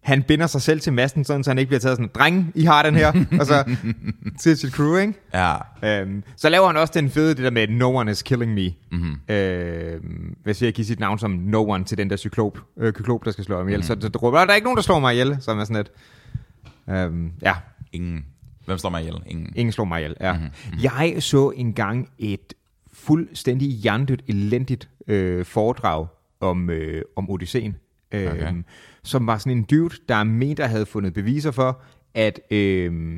B: Han binder sig selv til masten, sådan, så han ikke bliver taget sådan, dreng, I har den her, og så til sit crew, ikke?
A: Ja,
B: Øhm, så laver han også den fede, det der med, no one is killing me. Mm-hmm. Øhm, hvad siger jeg, give sit navn som no one til den der cyklop, øh, kyklop, der skal slå ham ihjel. Mm-hmm. Så, så der råber, der er ikke nogen, der slår mig ihjel, som er sådan et, øhm, ja,
A: ingen. Hvem står mig ihjel? Ingen.
B: ingen slår mig ihjel. Ja. Mm-hmm. Jeg så engang et fuldstændig hjernedødt, elendigt øh, foredrag om, øh, om Odysseen, øh,
A: Okay.
B: som var sådan en dude, der mente, der havde fundet beviser for, at... Øh,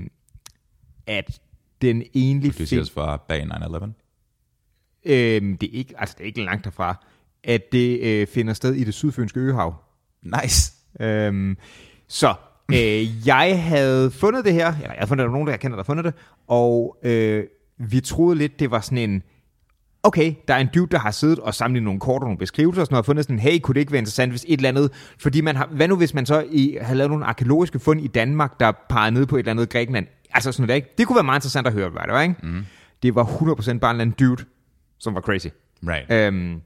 B: at den egentlig fik...
A: Produceret fra bag 9-11.
B: Øhm, det, er ikke, altså, det er ikke langt derfra, at det øh, finder sted i det sydfynske øhav.
A: Nice.
B: Øhm, så øh, jeg havde fundet det her, eller jeg havde fundet det, der var nogen, der jeg kender, der har fundet det, og øh, vi troede lidt, det var sådan en, okay, der er en dude, der har siddet og samlet nogle kort og nogle beskrivelser og sådan noget, og fundet sådan, hey, kunne det ikke være interessant, hvis et eller andet, fordi man har, hvad nu hvis man så i, havde lavet nogle arkeologiske fund i Danmark, der pegede ned på et eller andet Grækenland, altså sådan noget, der, ikke? det kunne være meget interessant at høre, hvad det var, ikke? Mm. Det var 100% bare en eller anden dude, som var crazy.
A: Right.
B: Øhm,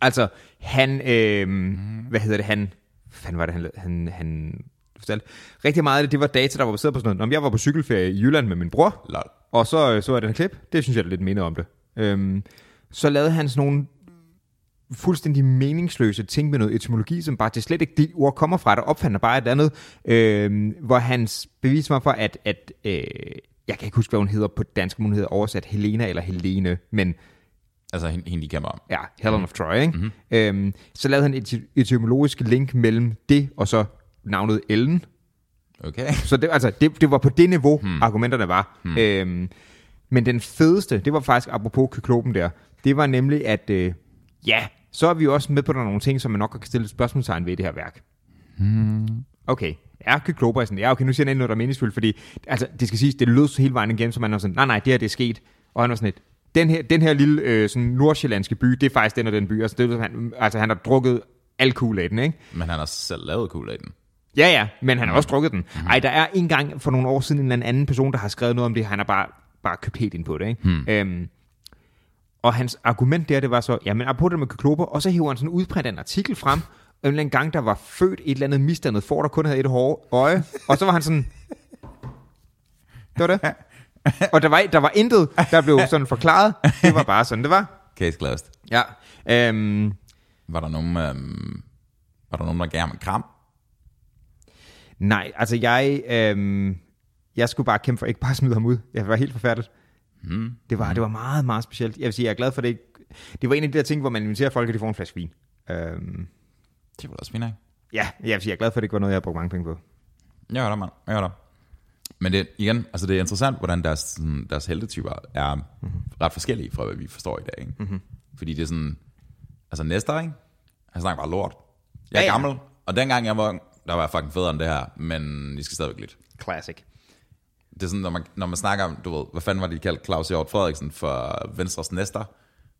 B: altså, han, øhm, mm. hvad hedder det, han, hvad fanden var det, han, lavede? han, han fortalte? Rigtig meget af det, det var data, der var baseret på sådan noget. Nå, men jeg var på cykelferie i Jylland med min bror,
A: Lol.
B: og så øh, så jeg den her klip. Det synes jeg er lidt mindre om det. Øhm, så lavede han sådan nogle fuldstændig meningsløse ting med noget etymologi, som bare til slet ikke de ord kommer fra. Der opfandt han bare et andet, øhm, hvor hans bevis mig for, at, at øh, jeg kan ikke huske, hvad hun hedder på dansk, men hun hedder oversat Helena eller Helene, men
A: Altså hende, hende de kæmper om.
B: ja, Helen of Troy, ikke? Mm-hmm. Øhm, så lavede han et etymologisk link mellem det og så navnet Ellen,
A: Okay.
B: så det, altså, det, det var på det niveau, hmm. argumenterne var. Hmm. Øhm, men den fedeste, det var faktisk apropos kyklopen der, det var nemlig, at øh, ja, så er vi jo også med på, at der er nogle ting, som man nok kan stille et spørgsmålstegn ved i det her værk. Hmm. Okay, er kykloper sådan, ja okay, nu siger han endelig noget, der er meningsfuldt, fordi altså, det skal siges, det lød så hele vejen igennem, så man var sådan, nej nej, det her det er sket, og han var sådan lidt, den her, den her lille øh, sådan nordsjællandske by, det er faktisk den og den by, altså, det, er- han, altså han har drukket al kool af den, ikke?
A: Men han har selv lavet kool den.
B: Ja, ja, men han har også drukket den. Ej, der er en gang for nogle år siden en eller anden anden person, der har skrevet noget om det. Han har bare, bare købt helt ind på det. Ikke? Hmm. Øhm, og hans argument der, det var så, jamen på det med kykloper, og så hiver han sådan udprint af en artikel frem, om en eller anden gang, der var født et eller andet misdannet får, der kun havde et hårde øje. Og så var han sådan, det var det. Og der var, der var intet, der blev sådan forklaret. Det var bare sådan, det var.
A: Case closed.
B: Ja. Øhm,
A: Var der nogen, øhm, var der nogen, der gav ham en kram?
B: Nej, altså jeg, øhm, jeg skulle bare kæmpe for ikke bare at smide ham ud. Jeg var helt forfærdet.
A: Hmm.
B: Mm. Det, var, det var meget, meget specielt. Jeg vil sige, jeg er glad for det. ikke- Det var en af de der ting, hvor man inviterer folk, at de får en flaske vin. Øhm,
A: Det var da også fint, ikke?
B: ja, jeg vil sige, jeg er glad for, at det ikke var noget, jeg har brugt mange penge på.
A: Jeg hører dig, mand. Jeg hører dig. Men det, igen, altså det er interessant, hvordan deres, sådan, deres heldetyper er mm-hmm. ret forskellige fra, hvad vi forstår i dag. Ikke? Mm-hmm. Fordi det er sådan, altså Nestor, ikke? han snakker bare lort. Jeg er ja,
B: Ja, ja.
A: gammel, og dengang jeg var ung, der var jeg fucking federe end det her, men I skal stadigvæk lidt.
B: Classic.
A: Det er sådan, når man, når man snakker om, du ved, hvad fanden var det, de kaldte Claus Hjort Frederiksen for Venstres Nestor?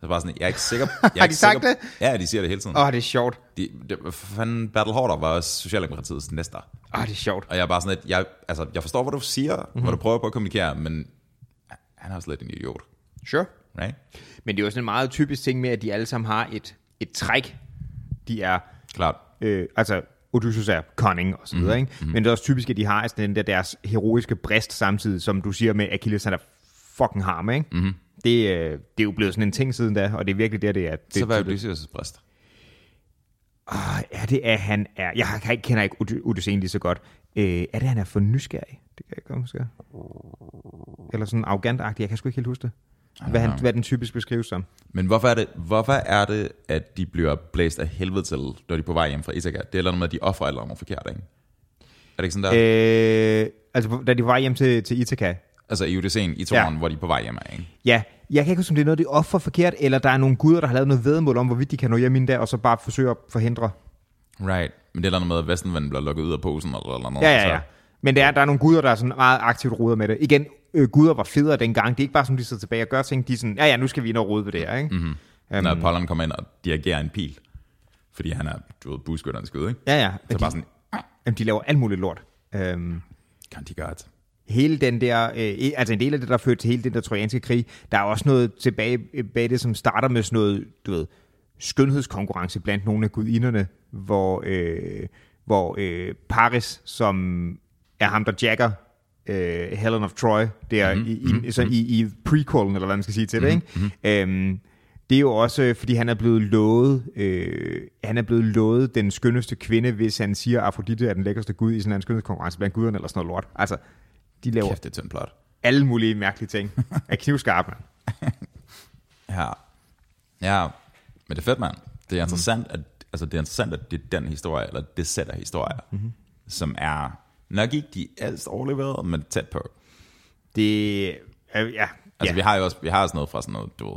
A: Så er det bare sådan, jeg er ikke sikker. Jeg er
B: Har
A: ikke
B: de sagt
A: sikker, Ja, de siger det hele tiden.
B: Åh, oh, det er sjovt.
A: De, de, for fanden, Bertel Haarder var også Socialdemokratiets Nestor.
B: Åh, oh, det er sjovt.
A: Og jeg er bare sådan lidt, jeg, altså, jeg forstår, hvad du siger,
B: Mhm.
A: mm-hmm. hvad du prøver på at kommunikere, men han er også lidt en idiot,
B: Sure.
A: right?
B: Men det er jo sådan en meget typisk ting med, at de alle sammen har et, et træk. De er
A: Klart.
B: øh, altså Odysseus er cunning og så videre, ikke? men det er også typisk, at de har sådan den der deres heroiske brist samtidig, som du siger med Achilles, han er fucking harm, ikke? Mm-hmm. Det, øh, det er jo blevet sådan en ting siden da, og det er virkelig der, det er. Det,
A: Så hvad er
B: det?
A: Odysseus' bræst?
B: Ah, er det, at han er... Jeg har- jeg kender ikke Ody- Odysseen lige så godt. Øh, er det, han er for nysgerrig? Det kan jeg ikke huske. Eller sådan arrogant Jeg kan sgu ikke helt huske det. Hvad, han, hvad den typisk beskrives som.
A: Men hvorfor er, det, hvorfor er det, at de bliver blæst af helvede til, når de er på vej hjem fra Ithaka? Det er et eller andet med, at de offrer et eller andet forkert, ikke? Er det ikke sådan der? Øh.
B: Øh, altså, da de var hjem til, til Ithaka,
A: Altså i Odysseen, i toren, ja.
B: Ja.
A: hvor de er på vej hjem af, ikke?
B: Ja, jeg kan ikke huske, om det er noget, de offer forkert, eller der er nogle guder, der har lavet noget vedmål om, hvorvidt de kan nå hjem inden der, og så bare forsøger at forhindre.
A: Right. Men det er et eller andet med, at Vestenvinden bliver lukket ud af posen, eller et eller andet.
B: Ja, ja, ja.
A: Så,
B: Men det er, der er nogle guder, der er sådan meget aktivt roder med det. Igen, øh, guder var federe dengang. Det er ikke bare sådan, de sidder tilbage og gør ting. De er sådan, ja ja, nu skal vi ind og rode ved det her, ikke? Mm-hmm. Um,
A: når Apollon kommer ind og dirigerer en pil, fordi han er, du ved, buskytterens skud, ikke?
B: ja, ja.
A: Så
B: De,
A: bare sådan,
B: "Ah." jamen, de laver alt muligt lort. Um,
A: kan de gøre det?
B: hele den der, øh, altså en del af det, der førte til hele den der trojanske krig, der er også noget tilbage øh, bag det, som starter med sådan noget, du ved, skønhedskonkurrence blandt nogle af gudinderne, hvor, øh, hvor øh, Paris, som er ham, der jacker øh, Helen of Troy, der mm-hmm. i, i, så i, i prequelen, eller hvad man skal sige til det, ikke? Øhm, det er jo også, øh, fordi han er blevet lovet, øh, han er blevet lovet den skønneste kvinde, hvis han siger, at Afrodite er den lækkerste gud i sådan en skønhedskonkurrence blandt guderne, eller sådan noget lort. Altså, de laver
A: Kæft, det er tyndt plot.
B: alle mulige mærkelige ting. Er knivskarpe.
A: Ja. Ja, men det er fedt, mand. Det
B: Mhm.
A: er interessant, at, altså, det er interessant, at det er den historie, eller det sæt af
B: Mhm.
A: historier, mm-hmm. som er nok ikke de ældst overleverede, men tæt på.
B: Det, øh, ja,
A: Altså,
B: ja.
A: ja. vi har jo også, vi har sådan noget fra sådan noget, du ved,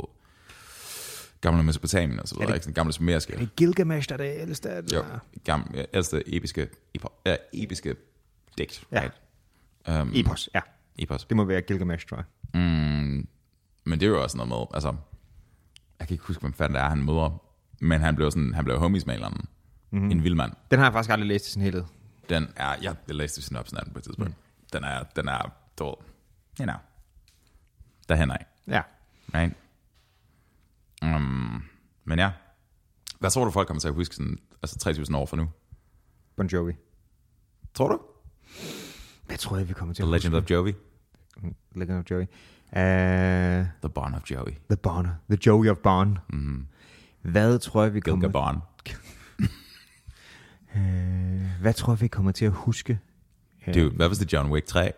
A: gamle Mesopotamien og så videre,
B: det-
A: ikke? Sådan gamle sumeriske.
B: Det er Gilgamesh, der er det ældste af det.
A: Jo, gamle, ældste episke, epo, ja, episke digt,
B: Ja.
A: right? Um,
B: Epos, ja.
A: epos.
B: Det må være Gilgamesh, tror jeg.
A: Mm, men det er jo også noget med, altså, jeg kan ikke huske, hvem fanden det er, han møder, men han blev sådan, han blev homies med en eller anden. Mm-hmm. En vild mand.
B: Den har jeg faktisk aldrig læst i sin helhed.
A: Den er, jeg, jeg læste synopsen af den på et tidspunkt. Mm. Den er, den er, du ved, you know, derhen af.
B: Ja.
A: Right? Um, men ja. Hvad tror du, folk kommer til at huske sådan, altså 3.000 år fra nu?
B: Bon Jovi.
A: Tror du?
B: Hvad tror jeg, vi kommer til
A: The
B: at
A: Legend of Joey.
B: huske? Legend of Joey. Uh,
A: The Bond of Joey.
B: the Bond. The Joey of Bond. Mm. Hvad tror jeg, vi kommer...
A: Gilga Bond.
B: Øh, hvad tror jeg, vi kommer til at huske?
A: Dude, hvad hvis det er John Wick 3?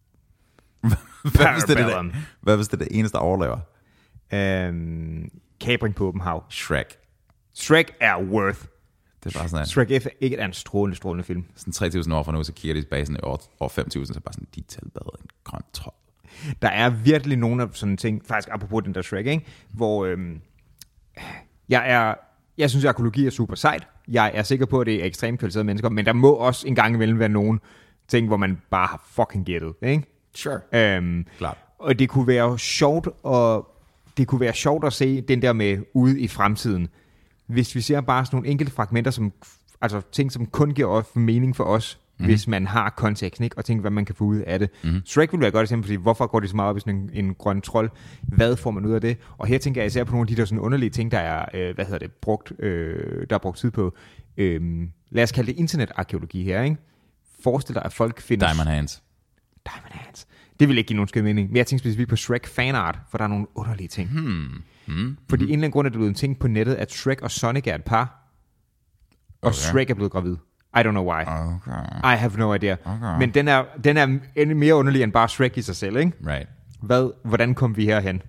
A: hvad, hvis det er
B: Parabellum.
A: det, hvad hvis det er det eneste, der overlever?
B: Øh, Kabring på åben hav.
A: Shrek.
B: Shrek er worth.
A: Det er bare sådan,
B: Shrek F ikke er en strålende, strålende film.
A: sådan 3.000 år fra nu, så kigger de tilbage sådan i år, år 5.000, så bare sådan, de tal bedre en grøn tråd.
B: Der er virkelig nogle af sådan ting, faktisk apropos den der Shrek, ikke? hvor øhm, jeg er, jeg synes, at arkeologi er super sejt. Jeg er sikker på, at det er ekstremt kvalificerede mennesker, men der må også en gang imellem være nogle ting, hvor man bare har fucking gættet. Ikke?
A: Sure.
B: Øhm,
A: Klart.
B: Og det kunne være sjovt og det kunne være sjovt at se den der med ude i fremtiden. Hvis vi ser bare sådan nogle enkelte fragmenter, som, altså ting, som kun giver os mening for os, mm. hvis man har konteksten, ikke? og tænker, hvad man kan få ud af det. Mm. Shrek ville være et godt eksempel, fordi hvorfor går det så meget op i sådan en, en grøn trold? Hvad får man ud af det? Og her tænker jeg især på nogle af de der sådan underlige ting, der er, øh, hvad hedder det, brugt, øh, der er brugt tid på. Øh, lad os kalde det internetarkeologi her, ikke? Forestil dig, at folk finder...
A: Diamond Hands.
B: Diamond Hands. Det vil ikke give nogen skid mening. Men jeg tænkte specifikt på Shrek fanart, for der er nogle underlige ting. Hmm. Hmm. Fordi en eller anden grund er det blevet en ting på nettet, at Shrek og Sonic er et par, og
A: Okay.
B: Shrek er blevet gravid. I don't know why.
A: Okay.
B: I have no idea.
A: Okay.
B: Men den er, den er endnu mere underlig end bare Shrek i sig selv, ikke?
A: Right.
B: Hvad, hvordan kom vi herhen?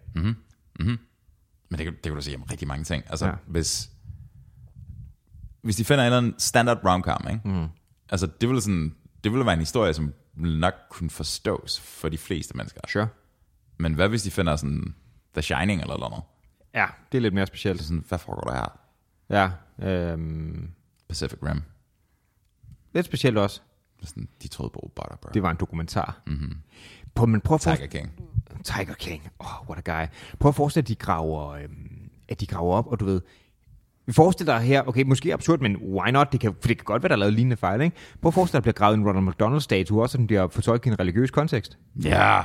A: Men det, kan- det kan du sige om rigtig mange ting. Altså,
B: Ja.
A: ja. hvis, hvis de finder en eller anden standard romcom, ikke? Mm. Altså, det ville, sådan, det ville være en historie, som ville nok kunne forstås for de fleste mennesker.
B: Sure.
A: Men hvad hvis de finder sådan The Shining eller noget?
B: Ja, det er lidt mere
A: Det er
B: specielt.
A: sådan, hvad foregår der her?
B: Ja, øhm,
A: Pacific Rim.
B: lidt specielt også.
A: Det er Sådan, de troede på robotter, bro.
B: Det var en dokumentar. Mm-hmm. Prøv, men prøv at forestille-
A: Tiger King.
B: Tiger King. Oh, what a guy. Prøv at forestille dig, at de graver, øhm, at de graver op, og du ved, vi forestiller dig her, okay, måske absurd, men why not? Det kan, for det kan godt være, der er lavet lignende fejl, ikke? Prøv at forestille dig, at der bliver gravet en Ronald McDonald-statue også, og den bliver fortolket i en religiøs kontekst.
A: Ja.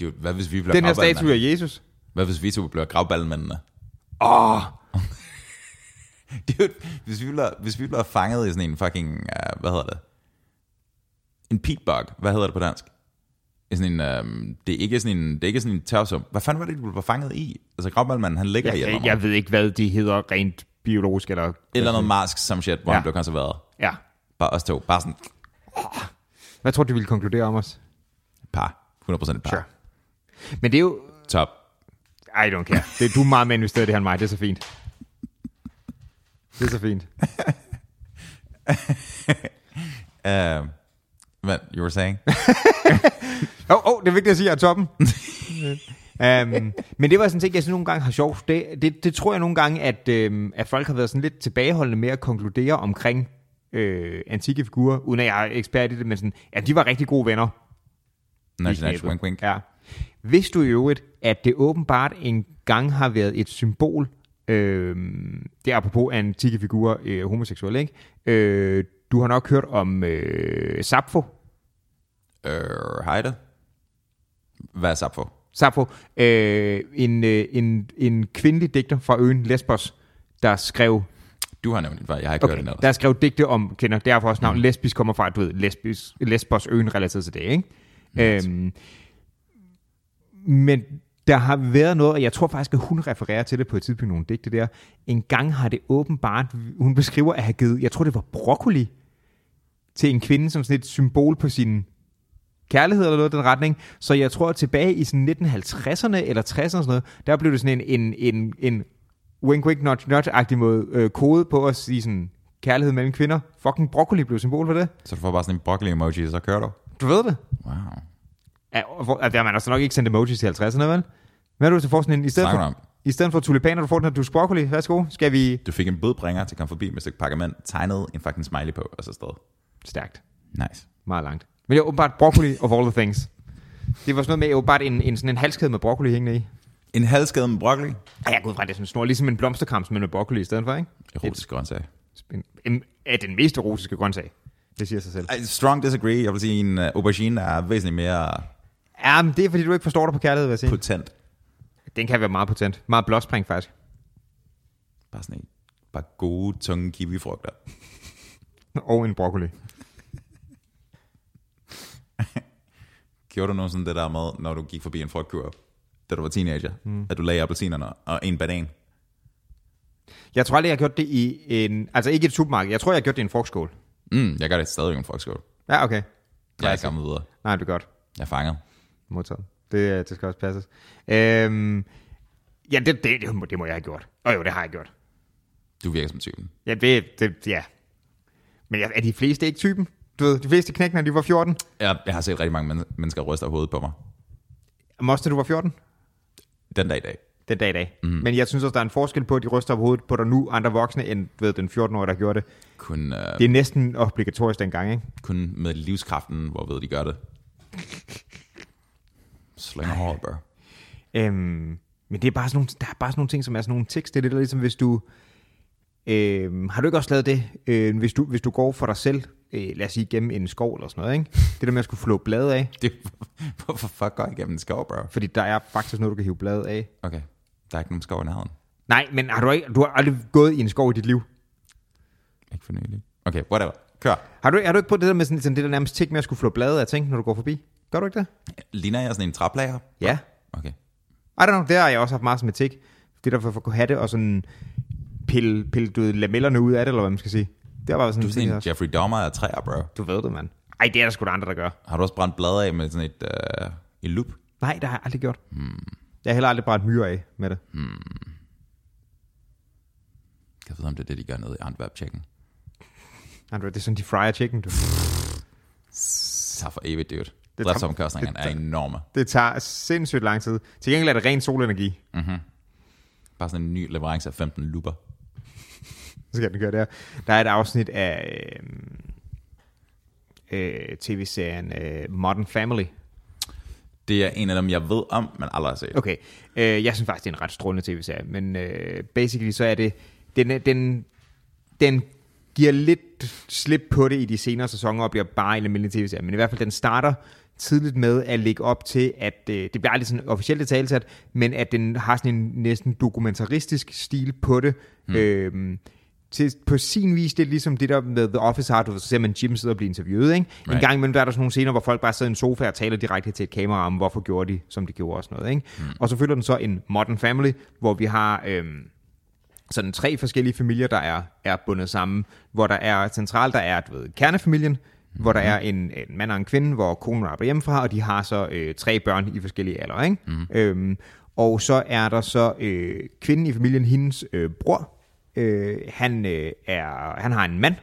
A: Dude, hvad hvis vi bliver
B: Den her statue
A: gravballemændene?
B: af Jesus.
A: Hvad hvis vi to bliver gravballemændene?
B: Åh, oh,
A: Dude, hvis vi bliver, hvis vi bliver fanget i sådan en fucking, uh, hvad hedder det? En peatbug, hvad hedder det på dansk? I Sådan en, um, det er ikke sådan en, det er ikke sådan en terrorsum. Hvad fanden var det, du blev fanget i? Altså, gravballemanden, han ligger
B: jeg,
A: i
B: jeg,
A: eller,
B: jeg ved ikke, hvad de hedder rent biologisk, eller...
A: eller noget marsk, som shit, hvor
B: Ja.
A: ja. han blev konserveret.
B: Ja.
A: Bare os to. Bare sådan
B: Hvad tror du, de ville konkludere om os?
A: par. 100% et par.
B: Sure. Men det er jo...
A: Top.
B: I don't care. Det er du er meget mere investeret i det her end mig. Det er så fint. Det er så fint.
A: Uh, hvad, you were saying?
B: Åh, oh, oh, det er vigtigt at sige, at jeg er toppen. um, men det var sådan set, jeg synes nogle gange har sjovt. Det, det, det tror jeg nogle gange, at, øhm, at folk har været sådan lidt tilbageholdende med at konkludere omkring øh, antikke figurer, uden at jeg er ekspert i det, men sådan, ja, de var rigtig gode venner.
A: nudge, nudge,
B: knæbet.
A: wink, wink.
B: Ja. Vidste du i øvrigt, at det åbenbart engang har været et symbol, øh, det er apropos antikke figurer, øh, homoseksuelle, ikke? Øh, du har nok hørt om øh, Sappho,
A: Øh, hej det. Hvad er Sappho?
B: Sappho, øh, en, øh, en, en kvindelig digter fra øen Lesbos, der skrev,
A: Du har nævnt det, jeg har ikke okay. hørt
B: okay,
A: det ellers.
B: der skrev digte om kvinder, derfor også navnet mm. lesbisk kommer fra, at du ved, lesbis, Lesbos øen relateret til det, ikke? Øhm, men der har været noget, og jeg tror faktisk, at hun refererer til det på et tidspunkt i nogle digte der. En gang har det åbenbart, hun beskriver at have givet, jeg tror det var broccoli, til en kvinde som sådan et symbol på sin kærlighed eller noget i den retning. Så jeg tror, at tilbage i sådan 1950'erne eller 60'erne og sådan noget, der blev det sådan en, en, en, en wink wink nudge nudge-agtig måde øh, kode på at sige sådan, kærlighed mellem kvinder. Fucking broccoli blev symbol for det.
A: Så du får bare sådan en broccoli emoji, og så kører du.
B: Du ved det.
A: Wow.
B: Ja, og hvor- altså, man har så nok ikke sendt emojis til 50'erne, vel? Hvad er du så får sådan en, i stedet,
A: Snakker du
B: for, i stedet for tulipaner, du får den her dusk broccoli, værsgo, skal vi...
A: Du fik en bødbringer til at komme forbi med et stykke pergament, tegnet en fucking smiley på, og så sted.
B: Stærkt.
A: Nice.
B: Meget langt. Men det var åbenbart broccoli of all the things. Det var sådan noget med åbenbart en, en, sådan en halskæde med broccoli hængende i.
A: En halskade med broccoli.
B: Ej, jeg går ud fra, at det er sådan en snor, ligesom en blomsterkrams, men med broccoli i stedet for, ikke?
A: Erotisk grøntsag.
B: En, en, er den mest erotiske grøntsag. Det siger sig selv.
A: I strong disagree. Jeg vil sige, en øh, aubergine er væsentligt mere
B: Ja, men det er, fordi du ikke forstår dig på kærlighed, vil jeg sige.
A: potent.
B: Den kan være meget potent. Meget blåspring, faktisk.
A: Bare sådan en. Bare gode, tunge kiwifrugter.
B: Og en broccoli.
A: Gjorde du nogensinde det der med, når du gik forbi en frugtkur, da du var teenager, mm. at du lagde appelsinerne og en banan?
B: Jeg tror aldrig, jeg har gjort det i en... Altså ikke i et supermarked. Jeg tror, jeg har gjort det i en frugtskål.
A: Mm, jeg gør det stadig i en frugtskål.
B: Ja, okay.
A: Jeg er ikke kommet videre.
B: Nej, det er godt.
A: Jeg er fanget.
B: Modtaget. Det, øh, det skal også passes. Øhm, ja, det, det, det, må, det må jeg have gjort. Og jo, det har jeg gjort.
A: Du virker som typen.
B: Ja, det, det ja. Men jeg- er de fleste ikke typen? Du ved, de fleste knæk, når de var 14.
A: Jeg, jeg har set rigtig mange men- mennesker ryste af hovedet på mig.
B: Moster, du var 14?
A: Den dag i dag.
B: Den dag i dag. Mm. Men jeg synes også, der er en forskel på, at de ryster på hovedet på dig nu, andre voksne, end du ved, den 14-årige, der gjorde det.
A: Kun, øh,
B: Det er næsten obligatorisk dengang, ikke?
A: kun med livskraften, hvor ved de gør det. Slynger håret, bro.
B: Øhm, men det er bare sådan nogle, der er bare sådan nogle ting, som er sådan nogle tics. Det er lidt ligesom, hvis du... Øhm, har du ikke også lavet det, øh, hvis, du, hvis du går for dig selv, øh, lad os sige, gennem en skov eller sådan noget, ikke? Det der med at skulle flå blade af,
A: Det, hvorfor fuck går jeg igennem en skov, bro?
B: fordi der er faktisk noget, du kan hive blade af.
A: Okay, der er ikke nogen skov i nærheden.
B: Nej, men har du, ikke, du har aldrig gået i en skov i dit liv.
A: Ikke for nylig. Okay, whatever. Kør.
B: Har du, har du ikke på det der med sådan, sådan det der nærmest tik med at skulle flå blade af ting, når du går forbi? Gør du ikke det?
A: Ligner jeg sådan en traplager?
B: Ja.
A: Okay.
B: I don't know, der har jeg også haft meget som et tik. Det der for for at kunne have det og sådan pille, pille du ved, lamellerne ud af det, eller hvad man skal sige. Det var bare sådan,
A: Du er sådan
B: ting
A: en
B: også.
A: Jeffrey Dahmer af træer, bro.
B: du ved det, mand. Ej, det er der sgu da andre, der gør.
A: Har du også brændt blade af med sådan et, øh, et loop?
B: Nej, det har jeg aldrig gjort. Hmm. Jeg har heller aldrig brændt myre af med det. Hmm.
A: Jeg ved, om det er det, de gør nede i Antwerp Tjekken.
B: Det er sådan, de fryer chicken, du.
A: Så for evigt, dude.
B: er
A: Driftsomkostningerne er enorme.
B: Det tager sindssygt lang tid. Til gengæld er det ren solenergi.
A: Mm-hmm. Bare sådan en ny leverance af 15 looper.
B: Så skal den gøre der. Der er et afsnit af øh, øh, tv-serien øh, Modern Family.
A: Det er en af dem, jeg ved om, men aldrig har set. Okay.
B: Okay, øh, jeg synes faktisk, det er en ret strålende tv-serie, men øh, basically så er det, den, er- den, den giver lidt slip på det i de senere sæsoner og bliver bare en almindelig tv-serie, men i hvert fald den starter tidligt med at lægge op til, at øh, det bliver aldrig sådan officielt detaljesat, men at den har sådan en næsten dokumentaristisk stil på det. Hmm. Øh, til, på sin vis, det er ligesom det der med The Office har, du ved, så ser man Jim sidde og blive interviewet, ikke? Right. En
A: Right.
B: gang imellem, der er der sådan nogle scener, hvor folk bare sidder i en sofa og taler direkte til et kamera om, hvorfor gjorde de, som de gjorde og sådan noget, ikke? Mm. Og så følger den så en Modern Family, hvor vi har... Øhm, sådan tre forskellige familier, der er, er bundet sammen, hvor der er centralt, der er du ved, kernefamilien, mm-hmm. hvor der er en, en mand og en kvinde, hvor konen arbejder hjemmefra, og de har så øh, tre børn i forskellige alder. Ikke? Mm-hmm. Øhm, og så er der så øh, kvinden i familien, hendes øh, bror, øh, han, øh, er, han har en mand,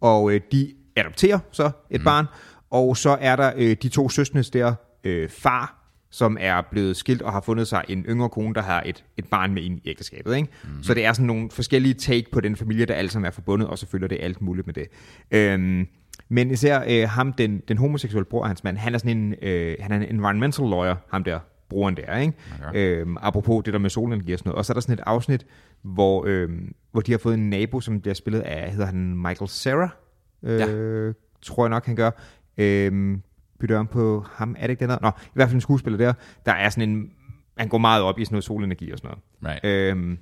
B: og øh, de adopterer så et mm. barn, og så er der øh, de to søstres der, øh, far, som er blevet skilt og har fundet sig en yngre kone, der har et, et barn med ind i ægteskabet. Ikke? Mm-hmm. Så det er sådan nogle forskellige take på den familie, der alle sammen er forbundet, og så følger det alt muligt med det. Øhm, men især øh, ham, den, den homoseksuelle bror og hans mand, han er sådan en, øh, han er en environmental lawyer, ham der brugeren der, ikke?
A: Okay.
B: Øhm, apropos det der med solenergi og sådan noget. Og så er der sådan et afsnit, hvor, øhm, hvor de har fået en nabo, som bliver spillet af, hedder han Michael Sarah? Øh, ja. Tror jeg nok, han gør. Øhm, bytter om på ham, er det ikke den der? Nå, i hvert fald en skuespiller der. Der er sådan en, han går meget op i sådan noget solenergi og sådan noget.
A: Right.
B: Øhm,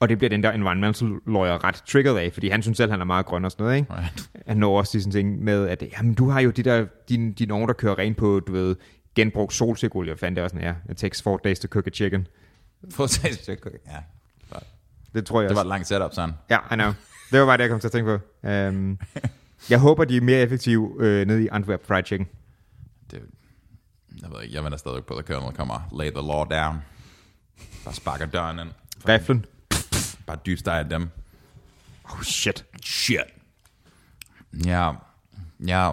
B: og det bliver den der environmental lawyer ret triggeret af, fordi han synes selv, han er meget grøn og sådan noget, ikke?
A: Right.
B: Han når også til sådan en ting med, at jamen, du har jo de der, din, din ovn, der kører rent på, du ved, genbrugt solsikkeolie, og fandt det også sådan, ja. It takes four days to cook a chicken.
A: Få et- ja.
B: Det tror jeg
A: Det var
B: også.
A: et langt setup, sådan.
B: Ja, I know. Det var bare det, jeg kom til at tænke på. Um, jeg håber, de er mere effektive øh, nede i Antwerp Fried Chicken.
A: Det, jeg ved ikke, jeg venter stadig på, at The Colonel kommer. Lay the law down. Bare sparker døren ind.
B: Riflen.
A: Bare dybstejer dem.
B: Oh shit.
A: Shit. Ja, ja.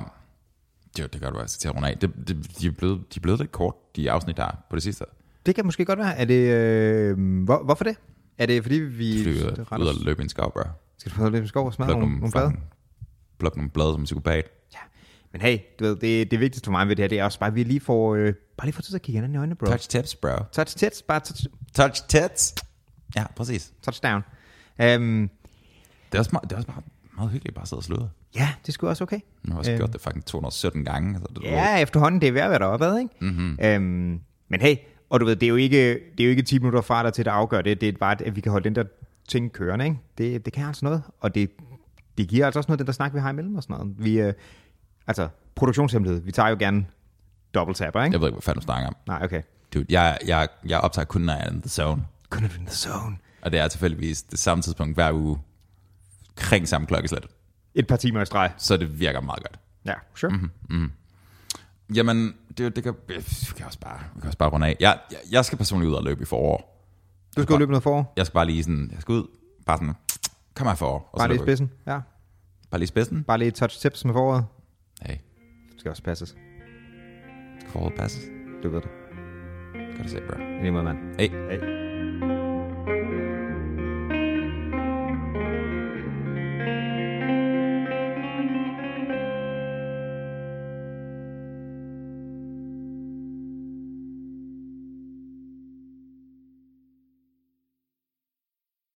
A: Jo, det gør du altså til at runde af. Det, det, de, er blevet, de er blevet lidt kort, de afsnit, der er på det sidste.
B: Det kan måske godt være. Er det, øh, hvor, hvorfor det? Er det fordi vi...
A: Fordi vi er ude og løbe i en skov, bro.
B: Skal du prøve at løbe i skov og smadre
A: Pluk
B: nogle, nogle blade?
A: fucking- Pluk nogle blade som en psykopat.
B: Ja. Men hey, du ved, det, det vigtigste for mig ved det her, det er også bare, at vi lige får, øh, bare lige får tid til at kigge hinanden i øjnene, bro.
A: Touch
B: Touch,
A: tips, bro.
B: touch tits, bare touch,
A: Touch tits. Ja, præcis.
B: touchdown. Um,
A: Det er også meget, det er også meget, meget hyggeligt bare at sidde og sludre.
B: ja, det skulle også okay.
A: Nu har jeg også gjort det fucking 217 gange. Altså, det,
B: Øhm. Ja, efterhånden, det er værd at være deroppe, ad, ikke?
A: Mhm.
B: Mm-hmm. Um, men hey, og du ved, det er jo ikke, det er jo ikke 10 minutter fra dig til, at afgøre det. Det er bare, at vi kan holde den der ting kørende, ikke? Det, det kan altså noget, og det, det giver altså også noget, den der snak, vi har imellem og sådan noget. Vi, øh, altså, produktionshemmelighed, vi tager jo gerne dobbelttapper, ikke?
A: Jeg ved ikke, hvad fanden du snakker om.
B: Nej, okay.
A: Dude, jeg, jeg, jeg optager kun, når jeg er in the zone.
B: Couldn't have been the zone.
A: Og det er tilfældigvis det samme tidspunkt hver uge, kring samme klokkeslæt.
B: Et par timer i streg.
A: Så det virker meget godt.
B: Ja, sure.
A: Mhm.
B: Mm-hmm.
A: Jamen, det, det kan, øh, vi kan, også bare, vi kan også bare runde af. Jeg, jeg, jeg skal personligt ud og løbe i forår.
B: Du skal jo løbe noget forår.
A: Jeg skal bare lige sådan, jeg skal ud, bare sådan, kom her forår. Og så
B: Bare lige i
A: løber jeg.
B: spidsen. Ja.
A: Bare lige i spidsen.
B: Bare lige et touch tips med foråret.
A: Hey,
B: Det skal også passes.
A: skal forholdet passes?
B: Du ved det.
A: Godt at se, bro.
B: I lige måde, mand.
A: Hey.
B: Hey.